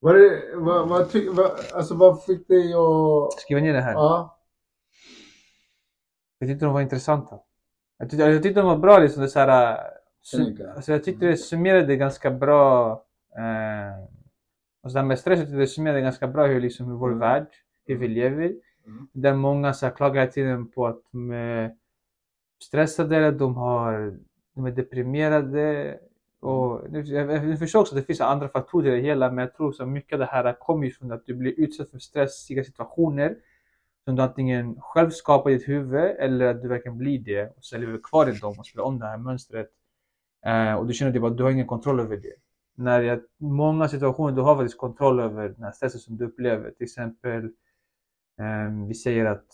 [SPEAKER 2] Vad, är- vad, vad, ty, vad, alltså, vad fick dig att...
[SPEAKER 1] Skriva ner det här.
[SPEAKER 2] Ja.
[SPEAKER 1] Jag tyckte de var intressanta. Jag tyckte, jag tyckte de var bra liksom. Det är så här, äh, sum,
[SPEAKER 2] Snygga.
[SPEAKER 1] alltså jag tyckte
[SPEAKER 2] Mm.
[SPEAKER 1] det summerade ganska bra. Eh, och så det här med stress, jag tyckte det summerade ganska bra hur, liksom, hur vår
[SPEAKER 2] Mm.
[SPEAKER 1] värld, hur vi lever.
[SPEAKER 2] Mm.
[SPEAKER 1] Där många så här, klagar hela tiden på att de är stressade, de, har, de är deprimerade.
[SPEAKER 2] Mm.
[SPEAKER 1] Och, nu- jag, jag, jag förstår också att det finns andra faktorer i det hela, men jag tror så mycket av det här kommer ju från att du blir utsatt för stressiga situationer. Som du antingen själv skapar i ditt huvud eller att du verkligen blir det. Och sen lever du kvar i dem och spelar om det här mönstret. Eh, och du känner typ att du har ingen kontroll över det. När jag, många situationer du har faktiskt kontroll över den här stressen som du upplever. Till exempel, eh, vi säger att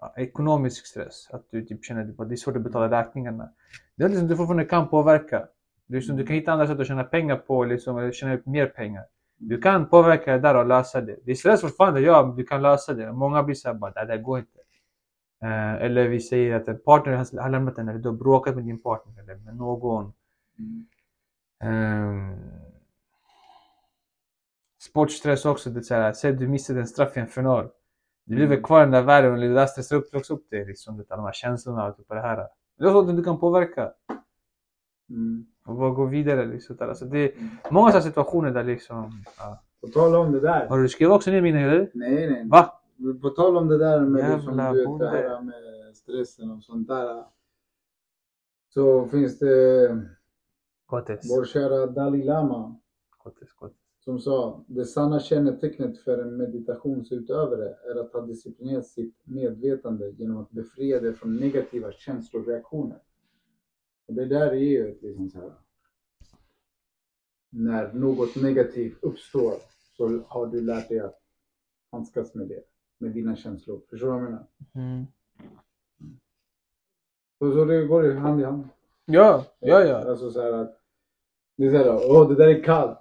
[SPEAKER 1] ja, ekonomisk stress, att du typ känner typ att det är svårt att betala räkningarna. Det är liksom du fortfarande kan påverka. Det är liksom, du kan hitta andra sätt att tjäna pengar på, liksom, eller tjäna upp mer pengar. Du kan påverka det där och lösa det. Det är stress fortfarande, ja, men du kan lösa det. Många blir såhär bara, "Nej, det där går inte. Eh, eller vi säger att en partner har- har lämnat en, eller du har bråkat med din partner eller med någon. Ehm, sportstress också, det är såhär, säg att du missade en straff i en final. Du lever kvar i den där världen och det där stressar upp, också upp dig. Liksom, det, alla de här känslorna och typ det här. Det är sånt du kan påverka
[SPEAKER 2] Mm.
[SPEAKER 1] och bara gå vidare. Liksom, där. Alltså, det är många sådana situationer där liksom... Ja.
[SPEAKER 2] På tal om det där.
[SPEAKER 1] Har du skrivit också ner mina eller?
[SPEAKER 2] Nej, nej.
[SPEAKER 1] Va?
[SPEAKER 2] På tal om det där med,
[SPEAKER 1] Jävla
[SPEAKER 2] liksom, du vet, det
[SPEAKER 1] bonde.
[SPEAKER 2] här med stressen och sånt där. Så finns det
[SPEAKER 1] Gottis.
[SPEAKER 2] vår kära Dalai Lama
[SPEAKER 1] Gottis, gottis.
[SPEAKER 2] som sa det sanna kännetecknet för en meditationsutövare är att ha disciplinerat sitt medvetande genom att befria det från negativa känsloreaktioner. Och det där är ju ett liksom så här, när något negativt uppstår så har du lärt dig att handskas med det, med dina känslor. Förstår du vad jag menar?
[SPEAKER 1] Mm.
[SPEAKER 2] Så, så det går ju hand i hand.
[SPEAKER 1] Ja, ja, ja.
[SPEAKER 2] Alltså så här att, det är så här, åh det där är kallt.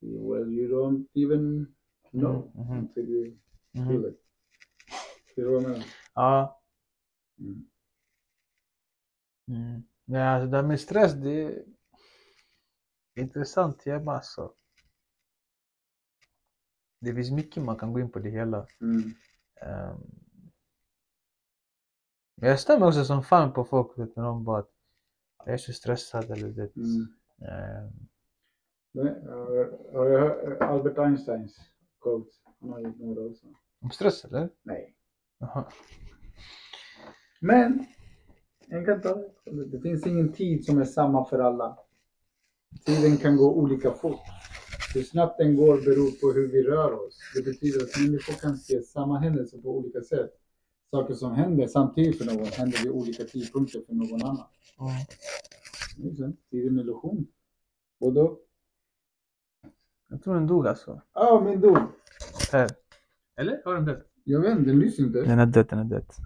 [SPEAKER 2] Well you don't even know
[SPEAKER 1] Mhm, mhm.
[SPEAKER 2] until you
[SPEAKER 1] Mhm.
[SPEAKER 2] feel it. Förstår du vad jag menar?
[SPEAKER 1] Ja.
[SPEAKER 2] Mm.
[SPEAKER 1] Mm. Ja, alltså det där med stress, det är intressant jävla alltså. Det finns mycket man kan gå in på det hela.
[SPEAKER 2] Mm.
[SPEAKER 1] Ehm, Men jag stämmer också som fan på folk vet, när de bara att jag är så stressad eller det.
[SPEAKER 2] Mm.
[SPEAKER 1] ehm,
[SPEAKER 2] Nej, har- Har du hört eh, Albert Einsteins quote? Han har gjort några också.
[SPEAKER 1] Om stress eller?
[SPEAKER 2] Nej.
[SPEAKER 1] Jaha.
[SPEAKER 2] Men, en kan ta det. Det finns ingen tid som är samma för alla. Tiden kan gå olika fort. Hur snabbt den går beror på hur vi rör oss. Det betyder att människor kan se samma händelse på olika sätt. Saker som händer samtidigt för någon händer vid olika tidpunkter för någon annan.
[SPEAKER 1] Mm.
[SPEAKER 2] Det är sant. Tid är en illusion. Och då?
[SPEAKER 1] Jag tror den dog alltså.
[SPEAKER 2] Ja, ah, min dog.
[SPEAKER 1] Här. Eller? Har den dött?
[SPEAKER 2] Jag vet inte, den lyser inte.
[SPEAKER 1] Den har dött, den har dött.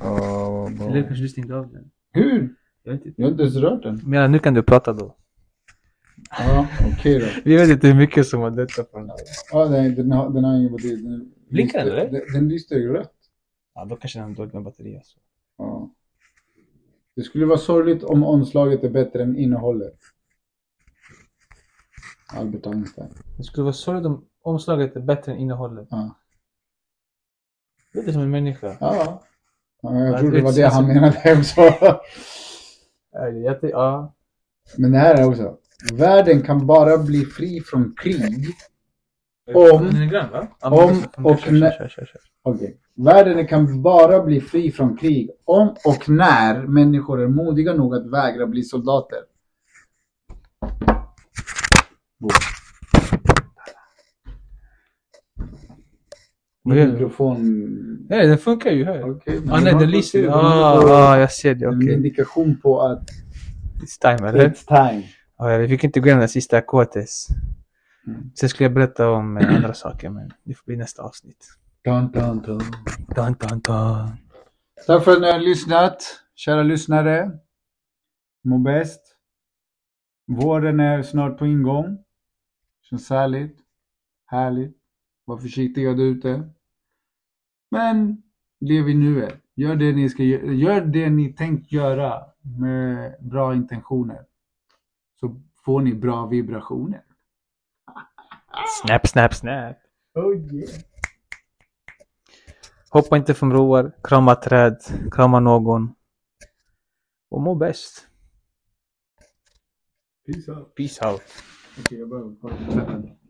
[SPEAKER 2] Oh,
[SPEAKER 1] Eller kanske du stängde av den.
[SPEAKER 2] hur?
[SPEAKER 1] Jag vet inte.
[SPEAKER 2] Jag har inte ens rört den.
[SPEAKER 1] Men nu kan du prata då.
[SPEAKER 2] Ja, okej då.
[SPEAKER 1] Vi vet inte hur mycket som har dött på den där.
[SPEAKER 2] Ja, nej, den har, den har ingen betydelse. Den-
[SPEAKER 1] Blinkar den, eller?
[SPEAKER 2] Den, den lyste ju rött.
[SPEAKER 1] Ja, då kanske den har dåligt med batteri alltså.
[SPEAKER 2] Ja. Det skulle vara sorgligt om omslaget är bättre än innehållet. Albert Einstein.
[SPEAKER 1] Det skulle vara sorgligt om omslaget är bättre än innehållet.
[SPEAKER 2] Ja.
[SPEAKER 1] Det är som en människa.
[SPEAKER 2] Ja. ja jag
[SPEAKER 1] Ja,
[SPEAKER 2] tror det var
[SPEAKER 1] det-
[SPEAKER 2] det han menade också.
[SPEAKER 1] Eller, jag ty- ja.
[SPEAKER 2] Men det här är också. Världen kan bara bli fri från krig. Om-
[SPEAKER 1] Den är grann va? Ja,
[SPEAKER 2] om
[SPEAKER 1] men det funkar.
[SPEAKER 2] och
[SPEAKER 1] Kör, kör,
[SPEAKER 2] när-
[SPEAKER 1] kör, kör, kör.
[SPEAKER 2] Okej. Världen kan bara bli fri från krig om och när människor är modiga nog att vägra bli soldater. Boom.
[SPEAKER 1] Vad gör du?
[SPEAKER 2] Mikrofon...
[SPEAKER 1] Nej, den funkar ju här.
[SPEAKER 2] Okej, men
[SPEAKER 1] Ah, nej,
[SPEAKER 2] har
[SPEAKER 1] den
[SPEAKER 2] fått se,
[SPEAKER 1] lyser.
[SPEAKER 2] den
[SPEAKER 1] Ah,
[SPEAKER 2] har fått-
[SPEAKER 1] ah, jag ser det.
[SPEAKER 2] en
[SPEAKER 1] Okej.
[SPEAKER 2] indikation på att
[SPEAKER 1] It's time, eller? Ah,
[SPEAKER 2] it's time.
[SPEAKER 1] Ja, vi fick inte gå igenom den sista kåtes.
[SPEAKER 2] Mm.
[SPEAKER 1] Sen skulle jag berätta om eh, andra saker, men det får bli nästa avsnitt.
[SPEAKER 2] Dun, dun, dun.
[SPEAKER 1] Dun, dun, dun.
[SPEAKER 2] Tack för att ni har lyssnat, kära lyssnare. Må bäst. Våren är snart på ingång. Känns härligt. Härligt. Var försiktiga där ute. Men lev i nuet. Gör det ni ska gö- Gör det ni tänkt göra med bra intentioner. Så får ni bra vibrationer.
[SPEAKER 1] Snap, snap, snap.
[SPEAKER 2] Oh yeah.
[SPEAKER 1] Hoppa inte från broar, krama träd, krama någon. Och må bäst.
[SPEAKER 2] Peace out.
[SPEAKER 1] Peace out.
[SPEAKER 2] Okej, jag behöver kolla.